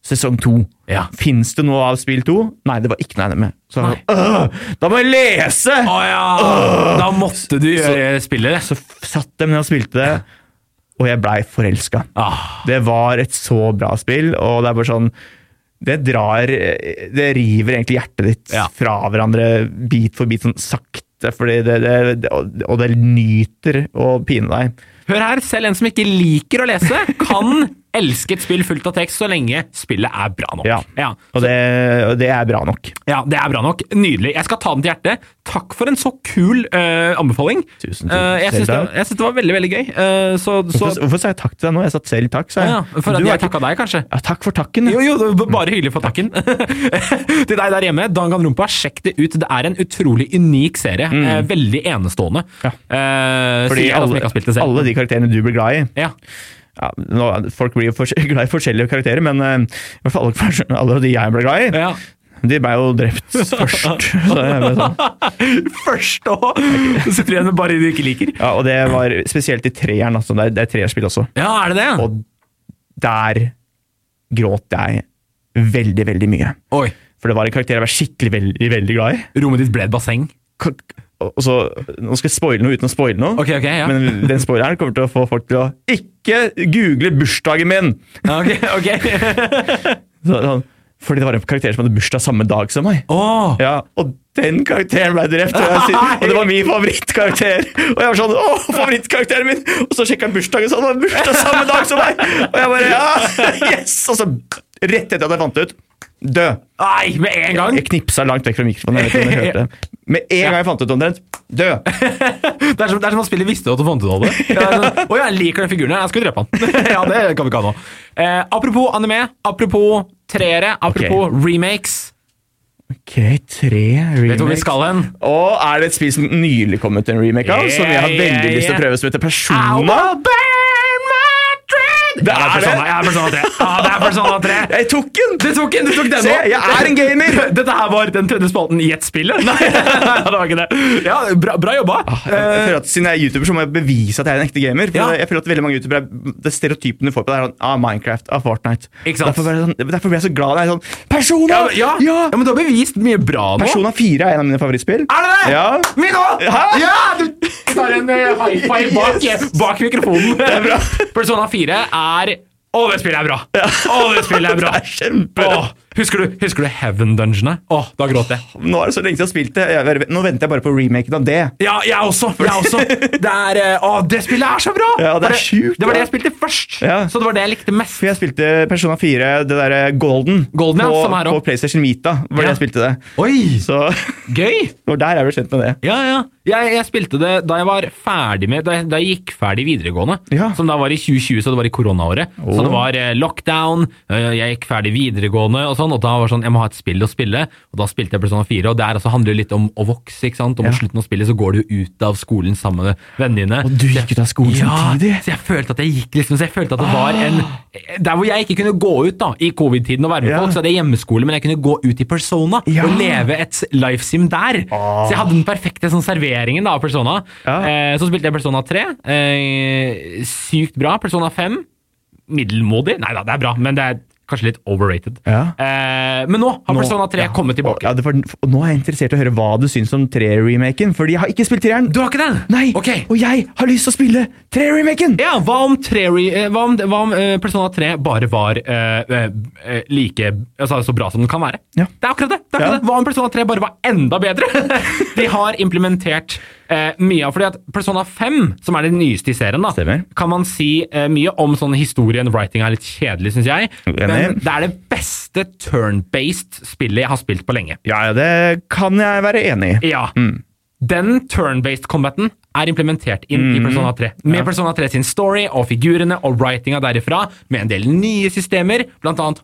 Speaker 3: sesong to.
Speaker 2: Ja.
Speaker 3: Fins det noe av spill to? Nei, det var ikke noe anime. Så
Speaker 2: Nei.
Speaker 3: jeg sånn, «Åh, da må jeg lese!
Speaker 2: Å ja! Da måtte du gjøre spillet.
Speaker 3: Så f- satt jeg ned og spilte det, og jeg blei forelska.
Speaker 2: Ah.
Speaker 3: Det var et så bra spill, og det er bare sånn Det drar Det river egentlig hjertet ditt
Speaker 2: Ja.
Speaker 3: fra hverandre bit for bit, sånn sakte, fordi det, det, det, og det nyter å pine deg.
Speaker 2: Hør her, selv en som ikke liker å lese, kan (laughs) elske et spill fullt av tekst så lenge spillet er bra nok.
Speaker 3: Ja.
Speaker 2: Ja.
Speaker 3: Og det, og det er bra nok.
Speaker 2: Ja, det er bra nok. Nydelig. Jeg skal ta den til hjertet. Takk for en så kul eh, anbefaling.
Speaker 3: Tusen, tusen.
Speaker 2: Eh, jeg syns det,
Speaker 3: Selv takk.
Speaker 2: jeg syns det var veldig, veldig gøy. Eh, så, så
Speaker 3: Hvorfor, hvorfor sa jeg takk til deg nå? Jeg sa selv takk, sa
Speaker 2: Å
Speaker 3: jeg.
Speaker 2: ja, For at
Speaker 3: Du
Speaker 2: jeg
Speaker 3: er ikke-
Speaker 2: takka deg, kanskje?
Speaker 3: ja, takk for takken.
Speaker 2: Jo, jo, det var bare hyggelig for takken. (laughs) Til deg der hjemme, Danganronpa, sjekk det ut. Det er en utrolig unik serie. Eh, veldig enestående.
Speaker 3: Mm. Ja.
Speaker 2: Eh,
Speaker 3: Fordi
Speaker 2: sier jeg da, som ikke har spilt det
Speaker 3: alle,
Speaker 2: selv.
Speaker 3: alle de karakterene du blir glad i,
Speaker 2: Ja.
Speaker 3: ja, nå, folk blir jo fors- (laughs) glad i forskjellige karakterer, men eh, i hvert fall alle, alle de jeg ble glad i,
Speaker 2: Ja.
Speaker 3: de ble jo drept
Speaker 2: (laughs)
Speaker 3: først. Så jeg ble sånn.
Speaker 2: Først og Så (laughs) sitter du igjen med bare de du ikke liker.
Speaker 3: ja, og det var spesielt i treeren, altså, det er, det er treerspill også.
Speaker 2: Ja, er det det?
Speaker 3: Og der gråt jeg veldig, veldig mye.
Speaker 2: Oi.
Speaker 3: For det var en karakter jeg var skikkelig veldig, veldig glad i.
Speaker 2: Rommet ditt ble et basseng.
Speaker 3: K- Og så, nå skal jeg spoile noe uten å spoile noe,
Speaker 2: Ok, ok, ja.
Speaker 3: men den spoileren kommer til å få folk til å ikke google bursdagen min! (laughs)
Speaker 2: Ja, ok, ok.
Speaker 3: Så- sånn, Fordi det var en karakter som hadde bursdag samme dag som meg.
Speaker 2: (laughs) Åh.
Speaker 3: Ja, og den karakteren ble drept, og,
Speaker 2: (laughs)
Speaker 3: jeg, sier- og det var min favorittkarakter. Og jeg var sånn Å, favorittkarakteren min! Og så sjekka han bursdagen, så han hadde bursdag samme dag som meg! Og jeg bare Ja! Yes! Og så rett etter at jeg fant det ut Død.
Speaker 2: Nei, med en gang!
Speaker 3: Jeg knipsa langt vekk fra mikrofonen. Jeg vet ikke om jeg hørte det. Med en gang jeg fant ut omtrent død.
Speaker 2: Det er som, det er som at spillet visste at du fant ut av det. (laughs) Ja, det er sånn, Å, jeg liker den figuren her, jeg skulle drepe han. (laughs) ja, det kan vi ikke ha nå. Eh, apropos anime, apropos treere, apropos remakes.
Speaker 3: Ok, tre remakes.
Speaker 2: Vet du hvor vi skal hen?
Speaker 3: Og er det et spill som nylig kom ut en remake av, som jeg har veldig
Speaker 2: Yeah, yeah,
Speaker 3: lyst til å
Speaker 2: yeah.
Speaker 3: prøve, som heter
Speaker 2: I
Speaker 3: Persona?
Speaker 2: will burn my dread!
Speaker 3: Det
Speaker 2: Ja,
Speaker 3: er
Speaker 2: Persona, Ja, Persona
Speaker 3: det.
Speaker 2: 3. Ja, det er Persona 3. (laughs)
Speaker 3: Jeg tok den!
Speaker 2: Du tok, den, du tok den
Speaker 3: Se,
Speaker 2: nå.
Speaker 3: jeg er en gamer!
Speaker 2: (laughs) Dette her var den tredje spalten i ett spill? (laughs) Nei, det var ikke det. Ah, Ja, Bra, bra jobba. Eh,
Speaker 3: Jeg føler at Siden jeg er youtuber, så må jeg bevise at jeg er en ekte gamer. For
Speaker 2: Ja.
Speaker 3: jeg føler at veldig mange youtubere er- Det stereotypen du får på det, er sånn, ah, Minecraft, ah, Fortnite.
Speaker 2: Ikke sant?
Speaker 3: Derfor, ble jeg sånn, derfor ble jeg så glad. Det er sånn, Persona!
Speaker 2: Ja, ja. ja, men du har bevist mye bra nå.
Speaker 3: Persona 4 er en av mine favorittspill.
Speaker 2: Er det det?
Speaker 3: Ja.
Speaker 2: Min òg!
Speaker 3: Hæ?
Speaker 2: Ja, du tar en eh, high five bak, bak mikrofonen. Det er bra. Persona 4 er Å, det spillet er bra! Å, det spillet er bra.
Speaker 3: (laughs) Det er kjempebra.
Speaker 2: Å, husker, du, husker du Heaven-dungeonet? Å, da gråt jeg.
Speaker 3: Nå er det så lenge siden jeg har spilt det. Jeg, nå venter jeg bare på remaken av det.
Speaker 2: Ja, jeg også. jeg også. Det er, eh, å, det spillet er så bra!
Speaker 3: Ja, det er
Speaker 2: For
Speaker 3: sjukt
Speaker 2: Det var det
Speaker 3: bra.
Speaker 2: jeg spilte først,
Speaker 3: Ja.
Speaker 2: så det var det jeg likte mest.
Speaker 3: For jeg spilte Persona 4, det derre Golden,
Speaker 2: Golden, ja,
Speaker 3: på,
Speaker 2: som er
Speaker 3: på
Speaker 2: opp.
Speaker 3: PlayStation Vita. var
Speaker 2: Ja.
Speaker 3: det jeg spilte det.
Speaker 2: Oi,
Speaker 3: Så (laughs)
Speaker 2: gøy!
Speaker 3: det var der jeg ble kjent med det.
Speaker 2: Ja, ja. Jeg, jeg spilte det da jeg var ferdig med Da jeg, da jeg gikk ferdig videregående.
Speaker 3: Ja.
Speaker 2: Som da var i 2020, så det var i koronaåret. Så
Speaker 3: Åh.
Speaker 2: det var eh, lockdown, eh, jeg gikk ferdig videregående og sånn. Og da var det sånn, jeg må ha et spill å spille. Og da spilte jeg Persona 4. Og der altså handler det litt om å vokse, ikke sant. Og
Speaker 3: Ja.
Speaker 2: mot slutten av spillet så går du jo ut av skolen sammen med vennene dine.
Speaker 3: Og du gikk ut av skolen samtidig. Ah.
Speaker 2: Så jeg følte at jeg gikk liksom, så jeg følte at det var en Der hvor jeg ikke kunne gå ut da, i covid-tiden og være med
Speaker 3: Ja.
Speaker 2: folk, så hadde jeg hjemmeskole, men jeg kunne gå ut i Persona
Speaker 3: Ja.
Speaker 2: og leve et lifesim der. Så jeg hadde den perfekte sånn, serveringen da, av Persona.
Speaker 3: Ja.
Speaker 2: Eh, så spilte jeg Persona 3. Eh, sykt bra. Persona 5. Middelmådig. Nei da, det er bra, men det er kanskje litt overrated.
Speaker 3: Ja.
Speaker 2: Eh, men nå har
Speaker 3: Nå-
Speaker 2: Persona 3
Speaker 3: ja.
Speaker 2: kommet tilbake.
Speaker 3: Ja, det var, og nå er jeg interessert i å høre hva du syns om 3-remaken, fordi jeg har ikke spilt 3-eren.
Speaker 2: Du har ikke den?
Speaker 3: Nei,
Speaker 2: Ok.
Speaker 3: og jeg har lyst til å spille 3-remaken!
Speaker 2: Ja, hva om, tre, re- eh, hva om, hva om eh, Persona 3 bare var eh, eh, eh, like altså, så bra som den kan være?
Speaker 3: Ja.
Speaker 2: Det er akkurat det! det, er akkurat
Speaker 3: Ja.
Speaker 2: det. Hva om Persona 3 bare var enda
Speaker 3: (laughs)
Speaker 2: bedre? De har implementert eh, mye av fordi at Persona 5, som er det nyeste i serien, da,
Speaker 3: Stemmer.
Speaker 2: kan man si eh, mye om sånn historien. Writing er litt kjedelig, syns jeg.
Speaker 3: Uenig.
Speaker 2: Men det er det beste beste turn-based spillet jeg har spilt på lenge.
Speaker 3: Ja, ja, det kan jeg være enig i.
Speaker 2: Ja. Den turn-based combaten er implementert inn i Persona 3. Med Persona 3 sin story og figurene og writinga derifra, med en del nye systemer, blant annet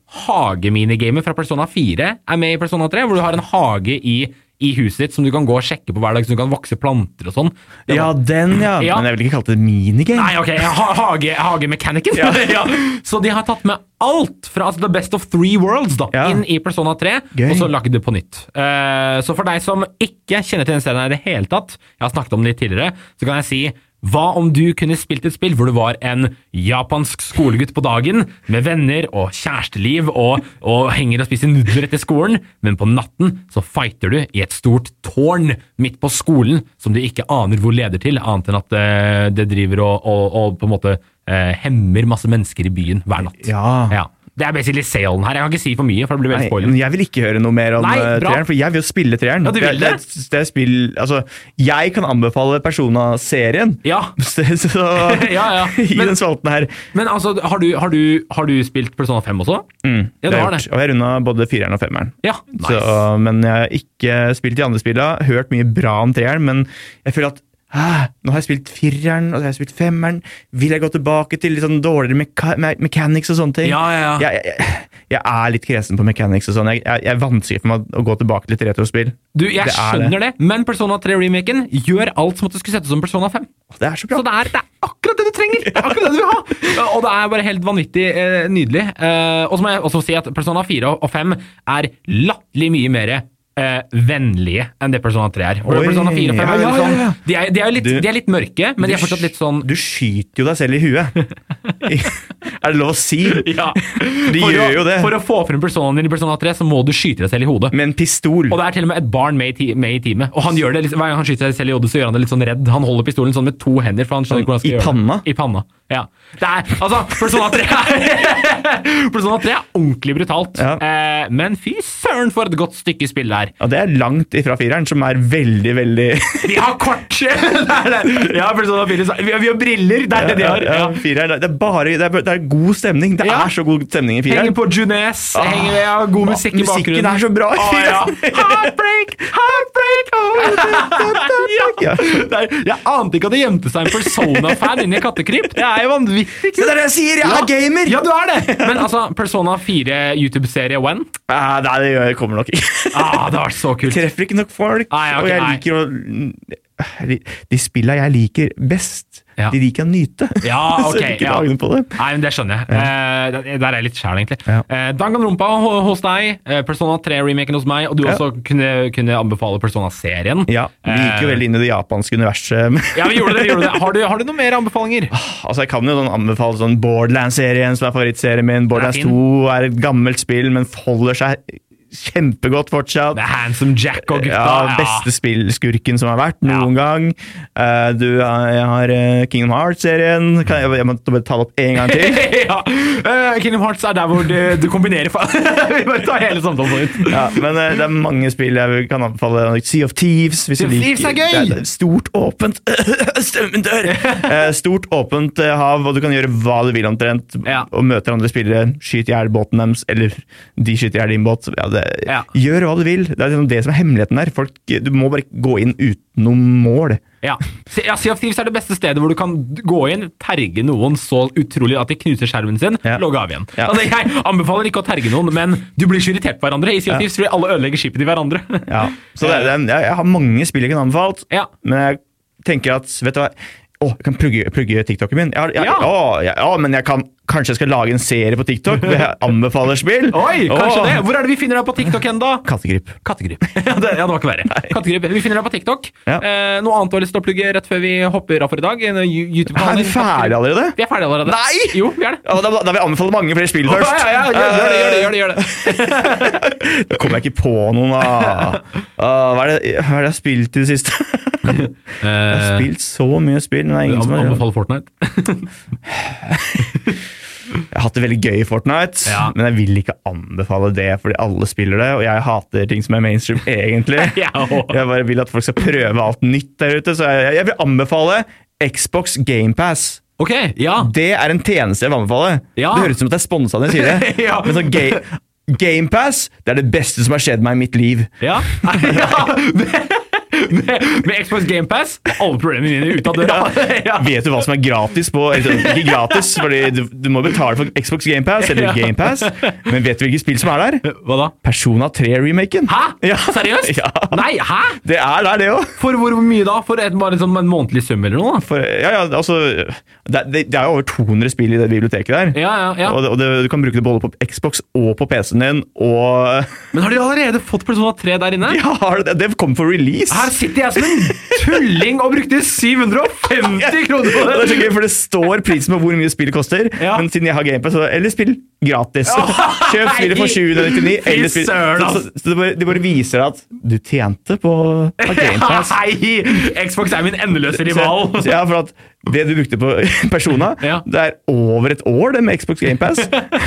Speaker 2: hageminigamet fra Persona 4 er med i Persona 3, hvor du har en hage i, i huset ditt som du kan gå og sjekke på hver dag, så du kan vokse planter og sånn. Det
Speaker 3: Ja,
Speaker 2: var-
Speaker 3: den, ja.
Speaker 2: Ja.
Speaker 3: (clears throat) Men jeg vil ikke kalle det minigame.
Speaker 2: Nei, ok, ha hage, hagemekanikken. Ja. (laughs) Så de har tatt med alt fra altså, The Best of Three Worlds da,
Speaker 3: Ja.
Speaker 2: inn i Persona 3,
Speaker 3: Gøy.
Speaker 2: og så lagd det på nytt. Eh, så for deg som ikke kjenner til den serien her i det hele tatt, jeg har snakket om det litt tidligere, så kan jeg si hva om du kunne spilt et spill hvor du var en japansk skolegutt på dagen, med venner og kjæresteliv, og, og henger og spiser nudler etter skolen, men på natten så fighter du i et stort tårn midt på skolen, som du ikke aner hvor leder til, annet enn at eh, det driver og, og, og på en måte eh, hemmer masse mennesker i byen hver natt.
Speaker 3: Ja.
Speaker 2: Det er basically salen her. Jeg kan ikke si for mye, for det blir
Speaker 3: Nei,
Speaker 2: veldig spoiler.
Speaker 3: men jeg vil ikke høre noe mer om
Speaker 2: Nei,
Speaker 3: eh,
Speaker 2: bra.
Speaker 3: treeren, for jeg vil jo spille treeren.
Speaker 2: Ja, du vil det?
Speaker 3: Det, er et spill, altså, jeg kan anbefale Persona-serien.
Speaker 2: Ja.
Speaker 3: (laughs) Så, så
Speaker 2: (laughs) Ja, ja.
Speaker 3: (laughs) i
Speaker 2: Men-
Speaker 3: den spalten her.
Speaker 2: Men altså, har du, har du, har du spilt Persona 5 også? ja, du
Speaker 3: Mm, har jeg
Speaker 2: har det.
Speaker 3: gjort. Og jeg runda både fireren og femmeren.
Speaker 2: Ja, nice.
Speaker 3: Så, øh, men jeg har ikke spilt de andre spillene. Hørt mye bra om treeren, men jeg føler at hæ, nå har jeg spilt fireren og så har jeg spilt femmeren. Vil jeg gå tilbake til litt sånn dårligere meka me mechanics og sånne ting?
Speaker 2: Ja, ja, ja.
Speaker 3: Jeg, jeg, jeg er litt kresen på mechanics og sånn. Jeg, jeg, jeg er vanskelig for meg å gå tilbake til et retrospill.
Speaker 2: Du, jeg
Speaker 3: Det er
Speaker 2: skjønner det. men Persona 3-remaken gjør alt som at det skulle settes som Persona 5.
Speaker 3: Det er så bra.
Speaker 2: Så det er, det er akkurat det du trenger! Det er akkurat det du vil
Speaker 3: (laughs)
Speaker 2: ha! Og det er bare helt vanvittig eh, nydelig. Eh, og så må jeg også si at Persona 4 og 5 er latterlig mye mer eh, vennlige enn det Persona 3 er. Og
Speaker 3: Oi.
Speaker 2: Persona 4 og 5 er
Speaker 3: Ja,
Speaker 2: veldig
Speaker 3: ja, ja, ja.
Speaker 2: sånn, de er, de er, jo litt,
Speaker 3: Du-
Speaker 2: de er litt mørke, men de er fortsatt litt sånn
Speaker 3: Du skyter jo deg selv i
Speaker 2: (laughs)
Speaker 3: huet. er det lov å si?
Speaker 2: ja.
Speaker 3: (laughs) De
Speaker 2: for,
Speaker 3: gjør
Speaker 2: å,
Speaker 3: jo det.
Speaker 2: for å få frem personen din i Persona 3, så må du skyte deg selv i hodet.
Speaker 3: Med en pistol.
Speaker 2: Og det er til og med et barn med i, ti med i teamet. Og han gjør det, liksom, Hver gang han skyter seg selv i hodet, så gjør han det litt sånn redd. Han holder pistolen sånn med to hender. for han skjønner ikke hvordan han skal
Speaker 3: I
Speaker 2: gjøre
Speaker 3: panna?
Speaker 2: det. I panna? Ja. Det er, altså, Persona 3 er, (laughs) Persona 3 er ordentlig brutalt.
Speaker 3: Ja.
Speaker 2: Eh, men fy søren for et godt stykke spill det er.
Speaker 3: Ja, det er langt ifra fireren, som er veldig, veldig
Speaker 2: De har kort! (laughs) Det er det. Ja, Persona 4, så- vi, har- vi har briller! Det er det de har.
Speaker 3: Ja,
Speaker 2: Ja.
Speaker 3: fireren, det, er bare, det, er, det er god stemning. Det
Speaker 2: Ja.
Speaker 3: er så god stemning i
Speaker 2: Henger
Speaker 3: fireren.
Speaker 2: på Junes, henger ved, har god musikk i bakgrunnen.
Speaker 3: Ah. Musikken er så bra i
Speaker 2: Å, ja. (laughs)
Speaker 3: fireren!
Speaker 2: Heartbreak! Heartbreak! oh, ja.
Speaker 3: Ja.
Speaker 2: Det er, (laughs) jeg ante ikke at det gjemte seg en Persona-fan inni et kattekryp. Det er jo vanvittig!
Speaker 3: Se, det er det jeg sier! Jeg er gamer!
Speaker 2: Ja, du er det! (laughs) Men altså, Persona 4 YouTube-serie when?
Speaker 3: Ah, nei, det gjør- kommer nok (laughs) ikke.
Speaker 2: Ah, det har vært så kult.
Speaker 3: Treffer ikke nok folk.
Speaker 2: Nei, ok,
Speaker 3: og jeg
Speaker 2: nei.
Speaker 3: liker å De spilla jeg liker best,
Speaker 2: Ja.
Speaker 3: de liker jeg å nyte.
Speaker 2: Ja,
Speaker 3: (laughs) Så
Speaker 2: ok,
Speaker 3: jeg liker
Speaker 2: ja.
Speaker 3: dagene på det.
Speaker 2: Nei, men Det skjønner jeg. Eh, der- der er jeg litt sjæl, egentlig.
Speaker 3: Ja.
Speaker 2: Eh, Danganronpa ho- hos deg, eh, Persona 3-remaken hos meg, og du
Speaker 3: Ja.
Speaker 2: også kunne, kunne anbefale Persona-serien.
Speaker 3: Ja, Vi gikk jo
Speaker 2: Eh,
Speaker 3: veldig inn i det japanske universet. men-
Speaker 2: Ja, vi gjorde det, vi gjorde det. Har, du, har du noen mer anbefalinger?
Speaker 3: Altså, Jeg kan jo sånn anbefale sånn Borderlands-serien, som er favorittserien min. Borderlands
Speaker 2: fin.
Speaker 3: 2 er et gammelt spill, men holder seg kjempegodt fortsatt.
Speaker 2: Det er Handsome Jack og gutta.
Speaker 3: Ja, beste spillskurken som har vært noen gang. Eh, du har- jeg har eh, Kingdom Hearts-serien. Kan Jeg, jeg må bare ta det opp en gang til.
Speaker 2: (laughs) ja. Eh, Kingdom Hearts er der hvor du, du kombinerer fa- (laughs) Vi bare tar hele samtalen på nytt.
Speaker 3: Ja, men eh, det er mange spill jeg vil- kan anbefale. Sea of Thieves. Hvis
Speaker 2: Sea
Speaker 3: du
Speaker 2: of
Speaker 3: liker-
Speaker 2: Thieves er gøy!
Speaker 3: Det det stort, åpent (laughs) Stemmen dør!
Speaker 2: (laughs)
Speaker 3: Eh, Stort, åpent eh, hav, og du kan gjøre hva du vil omtrent.
Speaker 2: Ja.
Speaker 3: Og møter andre spillere, skyter i hjel båten deres, eller de skyter i hjel din båt. Ja, det,
Speaker 2: Ja.
Speaker 3: Gjør hva du vil. Det er liksom det som er hemmeligheten der. Folk, du må bare gå inn utenom mål.
Speaker 2: Ja. Se- ja, Sea of Thieves er det beste stedet hvor du kan gå inn, terge noen så utrolig at de knuser skjermen sin,
Speaker 3: Ja.
Speaker 2: logge av igjen.
Speaker 3: Ja.
Speaker 2: Altså, jeg anbefaler ikke å terge noen, men du blir så irritert på hverandre. I Sea of Thieves tror jeg alle ødelegger skipet til hverandre.
Speaker 3: Ja, så det, det, jeg, jeg har mange spill jeg kunne anbefalt,
Speaker 2: Eh. Ja.
Speaker 3: men jeg tenker at Vet du hva? Å, jeg kan plugge, plugge TikToken min. Jeg, har- jeg,
Speaker 2: Ja.
Speaker 3: Å, jeg, ja, men jeg kan, kanskje jeg skal lage en serie på TikTok
Speaker 2: (laughs)
Speaker 3: hvor jeg anbefaler spill?
Speaker 2: (laughs) Oi, kanskje
Speaker 3: Å,
Speaker 2: det. Hvor er det vi finner deg på TikTok enda?
Speaker 3: Kattegryp.
Speaker 2: Kattegryp. (laughs) ja, det, ja, det var ikke verre. Kattegryp. Vi finner deg på TikTok.
Speaker 3: Ja.
Speaker 2: Eh, noe annet du har lyst til å plugge rett før vi hopper av for i dag? En you-
Speaker 3: Er
Speaker 2: YouTube-kanal?
Speaker 3: vi ferdige allerede?
Speaker 2: Vi er ferdige allerede.
Speaker 3: Nei!
Speaker 2: Jo, vi er det.
Speaker 3: Ja, da, da vil jeg anbefale mange flere spill først.
Speaker 2: Ja, ja, ja, gjør, det, gjør det, gjør det, gjør det.
Speaker 3: Da kommer jeg ikke på noen,
Speaker 2: (laughs)
Speaker 3: da. Ah, hva, er det, hva er det jeg har spilt i det siste? jeg har spilt så mye spill, men det er ingen som har
Speaker 2: Eh. Anbefaler Fortnite.
Speaker 3: Jeg har hatt det veldig gøy i Fortnite,
Speaker 2: Ja.
Speaker 3: men jeg vil ikke anbefale det, fordi alle spiller det, og jeg hater ting som er
Speaker 2: (laughs)
Speaker 3: mainstream, egentlig.
Speaker 2: Jeg også.
Speaker 3: Jeg bare vil at folk skal prøve alt nytt der ute, så jeg, jeg vil anbefale Xbox GamePass.
Speaker 2: Ok, ja.
Speaker 3: Det er en tjeneste jeg vil anbefale.
Speaker 2: Ja.
Speaker 3: Det høres ut som at jeg er sponsa når jeg sier det.
Speaker 2: (laughs) Ja.
Speaker 3: Men så gay, GamePass er det beste som har skjedd meg i mitt liv.
Speaker 2: Ja, ja
Speaker 3: (laughs)
Speaker 2: (laughs) det, med, med Xbox GamePass var alle problemene mine ute av døra. (laughs) Ja.
Speaker 3: Vet du hva som er gratis på eller, Ikke gratis, fordi du, du må betale for Xbox GamePass eller
Speaker 2: Ja.
Speaker 3: GamePass, men vet du hvilke spill som er der?
Speaker 2: Hva da?
Speaker 3: Persona 3-remaken.
Speaker 2: Hæ?
Speaker 3: Ja.
Speaker 2: Seriøst?
Speaker 3: (laughs) Ja.
Speaker 2: Nei, hæ?
Speaker 3: Det er der, det òg.
Speaker 2: For hvor mye da? For et, bare en sånn en månedlig sum eller noe? da?
Speaker 3: For, ja, ja, altså, det, det, det er jo over 200 spill i det biblioteket der.
Speaker 2: Ja, ja,
Speaker 3: Og,
Speaker 2: ja.
Speaker 3: det, og det, du kan bruke det både på Xbox og på PC-en din, og
Speaker 2: Men har de allerede fått Persona 3 der inne?
Speaker 3: (laughs) Ja, har du det, det kom for release!
Speaker 2: Her sitter jeg som en tulling og
Speaker 3: (laughs)
Speaker 2: brukte 750 kroner på
Speaker 3: det er så
Speaker 2: det!
Speaker 3: gøy,
Speaker 2: (laughs)
Speaker 3: for det står prisen på hvor mye spillet koster,
Speaker 2: Ja.
Speaker 3: men siden jeg har GamePass, så Eller spill gratis! (laughs) Kjøp spillet for
Speaker 2: Fy
Speaker 3: 799, eller spill
Speaker 2: søren,
Speaker 3: Så,
Speaker 2: ass.
Speaker 3: så, så det bare, de bare viser at du tjente på, på GamePass.
Speaker 2: Hei! Xbox er min endeløse rival.
Speaker 3: (laughs) Så, så ja, for at det du brukte på (laughs) Persona,
Speaker 2: Ja.
Speaker 3: det er over et år det med Xbox GamePass.
Speaker 2: (laughs)
Speaker 3: (laughs)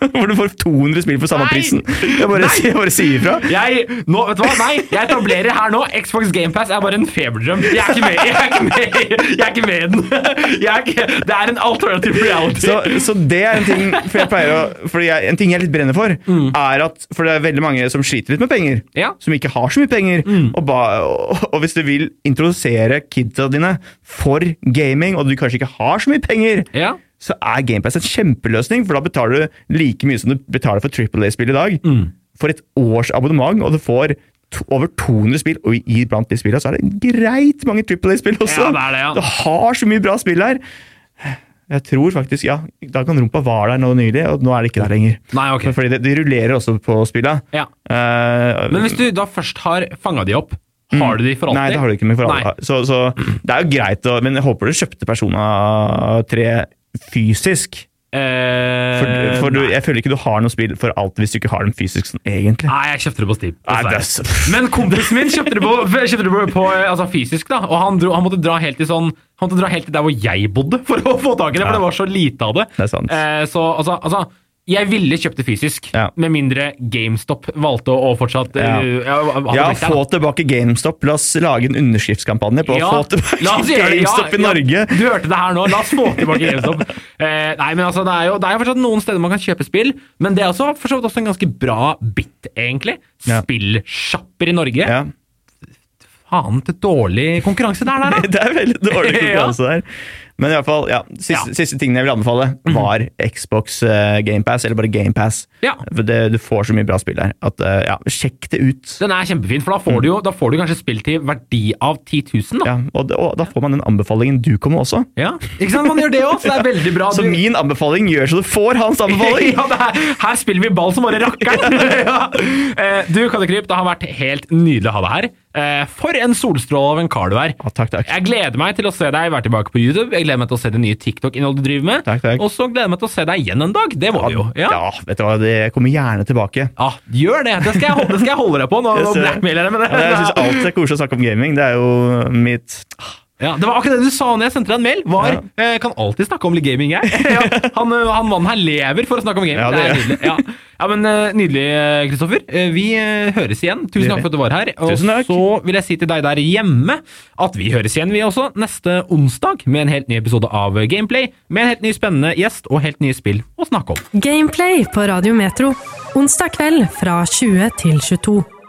Speaker 3: hvor du får 200 spill for samme
Speaker 2: Nei!
Speaker 3: prisen. Jeg bare,
Speaker 2: Nei!
Speaker 3: jeg bare sier ifra.
Speaker 2: Jeg, nå, vet du hva? Nei, jeg etablerer her nå Xbox GamePass er bare en feberdrøm. Jeg er ikke med, jeg er ikke med, jeg er ikke med i den. Jeg er ikke, det er en alternative reality.
Speaker 3: Så, så det er en ting for jeg pleier å, fordi jeg, en ting jeg litt brenner for, er at For det er veldig mange som sliter litt med penger.
Speaker 2: Mm. Ja. Mm.
Speaker 3: Som ikke har så mye penger. Og, ba, og, og hvis du vil introdusere kidsa dine for gaming, og du kanskje ikke har så mye penger,
Speaker 2: Ja.
Speaker 3: så er GamePass en kjempeløsning, for da betaler du like mye som du betaler for Triple A-spill i dag.
Speaker 2: Mm.
Speaker 3: For et års abonnement, og du får to, over 200 spill, og i- iblant de spillene så er det greit mange Triple A-spill også.
Speaker 2: Ja, det er det, ja.
Speaker 3: Du har så mye bra spill her. Jeg tror faktisk, ja, Dag and Rumpa var der nå nylig, og nå er det ikke der lenger.
Speaker 2: Nei, ok.
Speaker 3: Men Fordi det, de rullerer også på spillene.
Speaker 2: Ja.
Speaker 3: Eh,
Speaker 2: Men hvis du da først har fanga de opp, har du de for alltid?
Speaker 3: Nei, det har du ikke med for alle.
Speaker 2: Nei.
Speaker 3: Så, så det er jo greit, å, men jeg håper du kjøpte Persona 3 fysisk.
Speaker 2: Eh,
Speaker 3: For, for du, jeg føler ikke du har noe spill for alt hvis du ikke har dem fysisk, sånn, egentlig.
Speaker 2: Nei, jeg kjøpte det på Steam.
Speaker 3: Nei, det er
Speaker 2: dessverre.
Speaker 3: s-
Speaker 2: Men kompisen min kjøpte det på, kjøpte det på, på eh, altså fysisk, da. Og han, dro, han måtte dra helt til sånn Han måtte dra helt til der hvor jeg bodde for å få tak i det, for
Speaker 3: Ja.
Speaker 2: det var så lite av det.
Speaker 3: Det er sant.
Speaker 2: Eh, så altså, altså jeg ville kjøpt det fysisk,
Speaker 3: Ja.
Speaker 2: med mindre GameStop valgte å, å fortsatt eh,
Speaker 3: Ja.
Speaker 2: ha det
Speaker 3: Ja,
Speaker 2: vekk der, da.
Speaker 3: få tilbake GameStop. La oss lage en underskriftskampanje på
Speaker 2: Ja,
Speaker 3: å få tilbake
Speaker 2: la oss gjøre-
Speaker 3: GameStop
Speaker 2: ja,
Speaker 3: i Norge.
Speaker 2: Ja, du hørte det her nå. La oss få tilbake GameStop.
Speaker 3: (laughs)
Speaker 2: Eh, nei, men altså, det er, jo, det er jo fortsatt noen steder man kan kjøpe spill, men det er også, for så vidt også en ganske bra bit, egentlig.
Speaker 3: Ja.
Speaker 2: Spillsjapper i Norge.
Speaker 3: Ja.
Speaker 2: Faen til dårlig konkurranse der, der, da!
Speaker 3: (laughs) Det er veldig dårlig konkurranse der. Men i hvert fall, ja, siste,
Speaker 2: Ja.
Speaker 3: siste tingen jeg vil anbefale, var Xbox eh, GamePass, eller bare GamePass.
Speaker 2: Ja.
Speaker 3: For det, du får så mye bra spill der. At, eh, ja, sjekk det ut.
Speaker 2: (laughs) Den er kjempefin, for da får du jo da får du kanskje spill til verdi av 10 000, da.
Speaker 3: Ja, og, det- og da får man den anbefalingen du kommer også.
Speaker 2: Ja. Ikke sant? Man gjør det også, så det er veldig bra.
Speaker 3: Så
Speaker 2: Du-
Speaker 3: min anbefaling gjør så du
Speaker 2: (laughs)
Speaker 3: får hans anbefaling!
Speaker 2: Ja, det er, her spiller vi ball som bare rakkeren! (laughs) ja. Eh, Du, Kadekryp, det har vært helt nydelig å ha deg her. Eh, For en solstråle av en kar du er.
Speaker 3: Ja, takk, takk.
Speaker 2: Jeg gleder meg til å se deg være tilbake på YouTube. Jeg gleder meg til å se det nye TikTok-innholdet du driver med.
Speaker 3: Takk, takk.
Speaker 2: Og så gleder jeg meg til å se deg igjen en dag. Det må vi jo. Ja.
Speaker 3: ja, vet du hva, det jeg kommer gjerne tilbake.
Speaker 2: Ja, gjør det! Det skal jeg, holde- det skal jeg holde deg på. Nå, nå
Speaker 3: Jeg ser-
Speaker 2: blackmailer jeg med
Speaker 3: Ja, jeg syns
Speaker 2: det.
Speaker 3: alt er koselig å snakke om gaming. Det er jo mitt
Speaker 2: Ja, det var akkurat det du sa når jeg sendte deg en mail. Var, eh, Kan alltid snakke om litt gaming,
Speaker 3: (laughs)
Speaker 2: jeg. ja, han, eh, han mannen her lever for å snakke om gaming.
Speaker 3: Ja,
Speaker 2: det, er
Speaker 3: det
Speaker 2: nydelig. Ja. ja, men eh, Nydelig, eh, Kristoffer. Eh, Vi eh, høres igjen.
Speaker 3: Det gjør
Speaker 2: Tusen takk
Speaker 3: vi.
Speaker 2: for at du var her. Og
Speaker 3: Tusen takk.
Speaker 2: så vil jeg si til deg der hjemme at vi høres igjen, vi også, neste onsdag med en helt ny episode av Gameplay, med en helt ny spennende gjest og helt nye spill å snakke om.
Speaker 1: Gameplay på Radio Metro. Onsdag kveld fra 20 til 22.